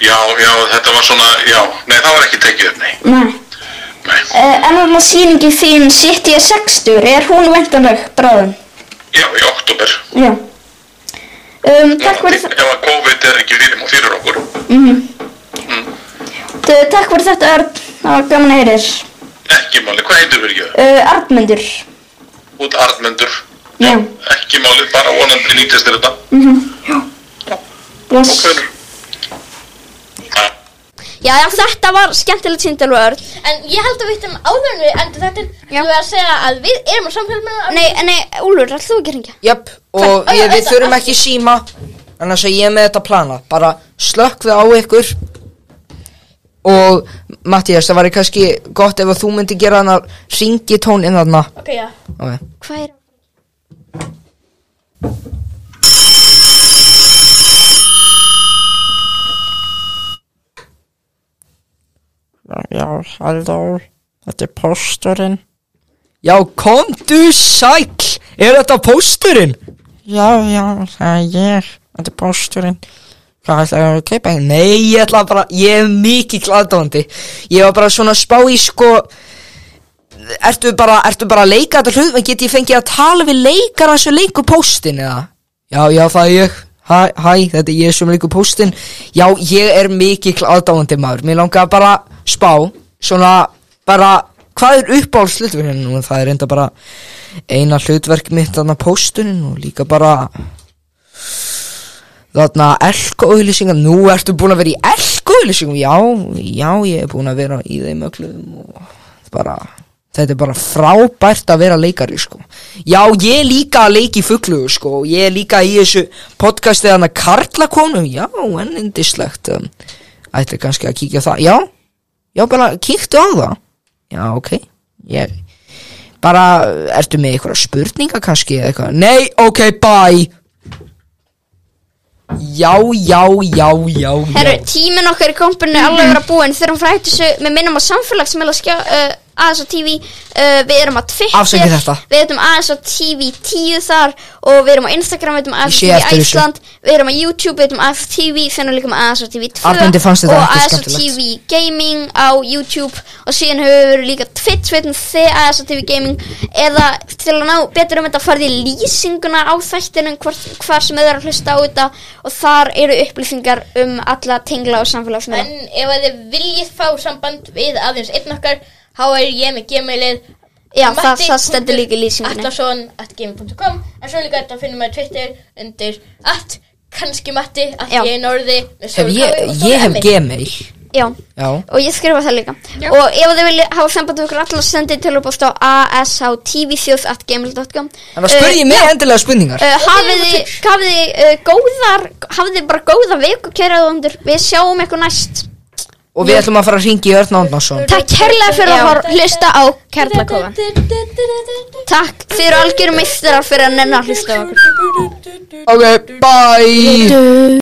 Já, já, þetta var svona, já, nei það var ekki tekið upp, nei. Nei. Uh, en þarna sýningi þín City of 60, er hún veintanleg bráðum? Já, í oktober. Já. Um, takk fyrir Ef að COVID er ekki fyrir, fyrir okkur. Mm Takk fyrir þetta, Örn. Það var gaman að heyrir. Ekki máli, hvað heitir fyrir ekki? Uh, Arnmundur. Út Arnmundur. Já. Ekki máli, bara vonandi nýtist þér þetta. Mm Já. Bless. Já, já, þetta var skemmtilegt síndal og Örn En ég held að við hittum áður en við endur þetta Þú er að segja að við erum að samfélja með Nei, nei, Úlfur, ætlum þú ekki að ringja? Jöp, og Hvað? Ó, já, ég, við þetta- þurfum ekki síma Annars að ég er með þetta plana Bara slökkðu á ykkur Og Mattías, það væri kannski gott ef að þú myndi gera hann að ringi tón inn þarna Ok, já. Ok. Hvað er Já, halló, þetta er pósturinn. Já, komdu sæll Er þetta pósturinn? Já, já, það er ég. Þetta er pósturinn. Hvað ætlaðu að kaupa þér? Nei, ég ætla bara, ég er mikið gladóndi Ég var bara svona að spá í sko Ertu bara, ertu bara að leika þetta hlut Get ég fengið að tala við leikar þessu leiku póstin eða? Já, já, það er ég Hæ, hæ, þetta er ég sem leiku póstin Já, ég er mikið gladóndi maður Mér langar bara að spá Svona, bara, hvað er uppáhalds hlutverkinn nú? Það er enda bara eina hlutverk mitt þarna pósturinn og líka bara Þarna elkoauðlýsingar, nú ertu búin að vera í elkoauðlýsingum, já, já, ég er búin að vera í þeim öllum og bara, þetta er bara frábært að vera leikari, sko. Já, ég er líka að leiki fuglu, sko, og ég er líka í þessu podcastið hann að karla konum, já, en indislegt, um, ætli kannski að kíkja á það, já, já, bara kíktu á það, já, ok, ég, bara, ertu með einhverja spurninga kannski eða eitthvað, nei, ok, bye. Já, já, já, já, já. Herru, tíminn okkar í kompunni er alveg að vera búinn Þegar hún frætti þessu, við minnum á samfélagsmiðla skjá, uh, aðeins á TV uh, Við erum á Twitter Afsakið þetta. Við erum aðeins á TV 10 þar Og við erum á Instagram, við erum aðeins á sé TV eftir þessu. Ísland Við erum á YouTube, við erum aðeins á TV Þannig líka með aðeins á TV 2 Arnaldi fannst þetta Og ekki aðeins á skemmtilegt. TV Gaming á YouTube Og síðan höfum við verið líka á Twitch Við erum þið aðeins á TV Gaming Eða til að ná betur um þetta farið í lýsinguna á þættinum Hvar, hvar sem þið eru að hlusta á þetta Og þar eru upplýsingar um alla tengla og samfélagsmiðla En ef að þið viljið fá samband við aðeins einn okkar, þá er ég með gemailið Já, það- það stendur líka í lýsingunni. Atlason at gmail.com En svo líka þetta finnum maður Twitter undir at kannski matti að Já. ég er norði með Ef stóru ég, kafi og stóru ég hef emmi. gemil Já, Já og ég skrifa það líka Já. Og ef þið viljið hafa samband við okkur allar sendið tölvupost á ashtvþjóð.gmail.com Þannig að Eh, spurði ég mig endilega spurningar Uh, hafið þið, hafið þið uh, góðar hafið þið bara góða viku kæraðundur við sjáum ykkur næst Og við ætlum að fara að ringi í Örn Ándnarsson takk kærlega fyrir að hor- hlusta á kærlakofa takk, þið eru algjörum meistarar fyrir að nennar hlusta á okkur Ok, bye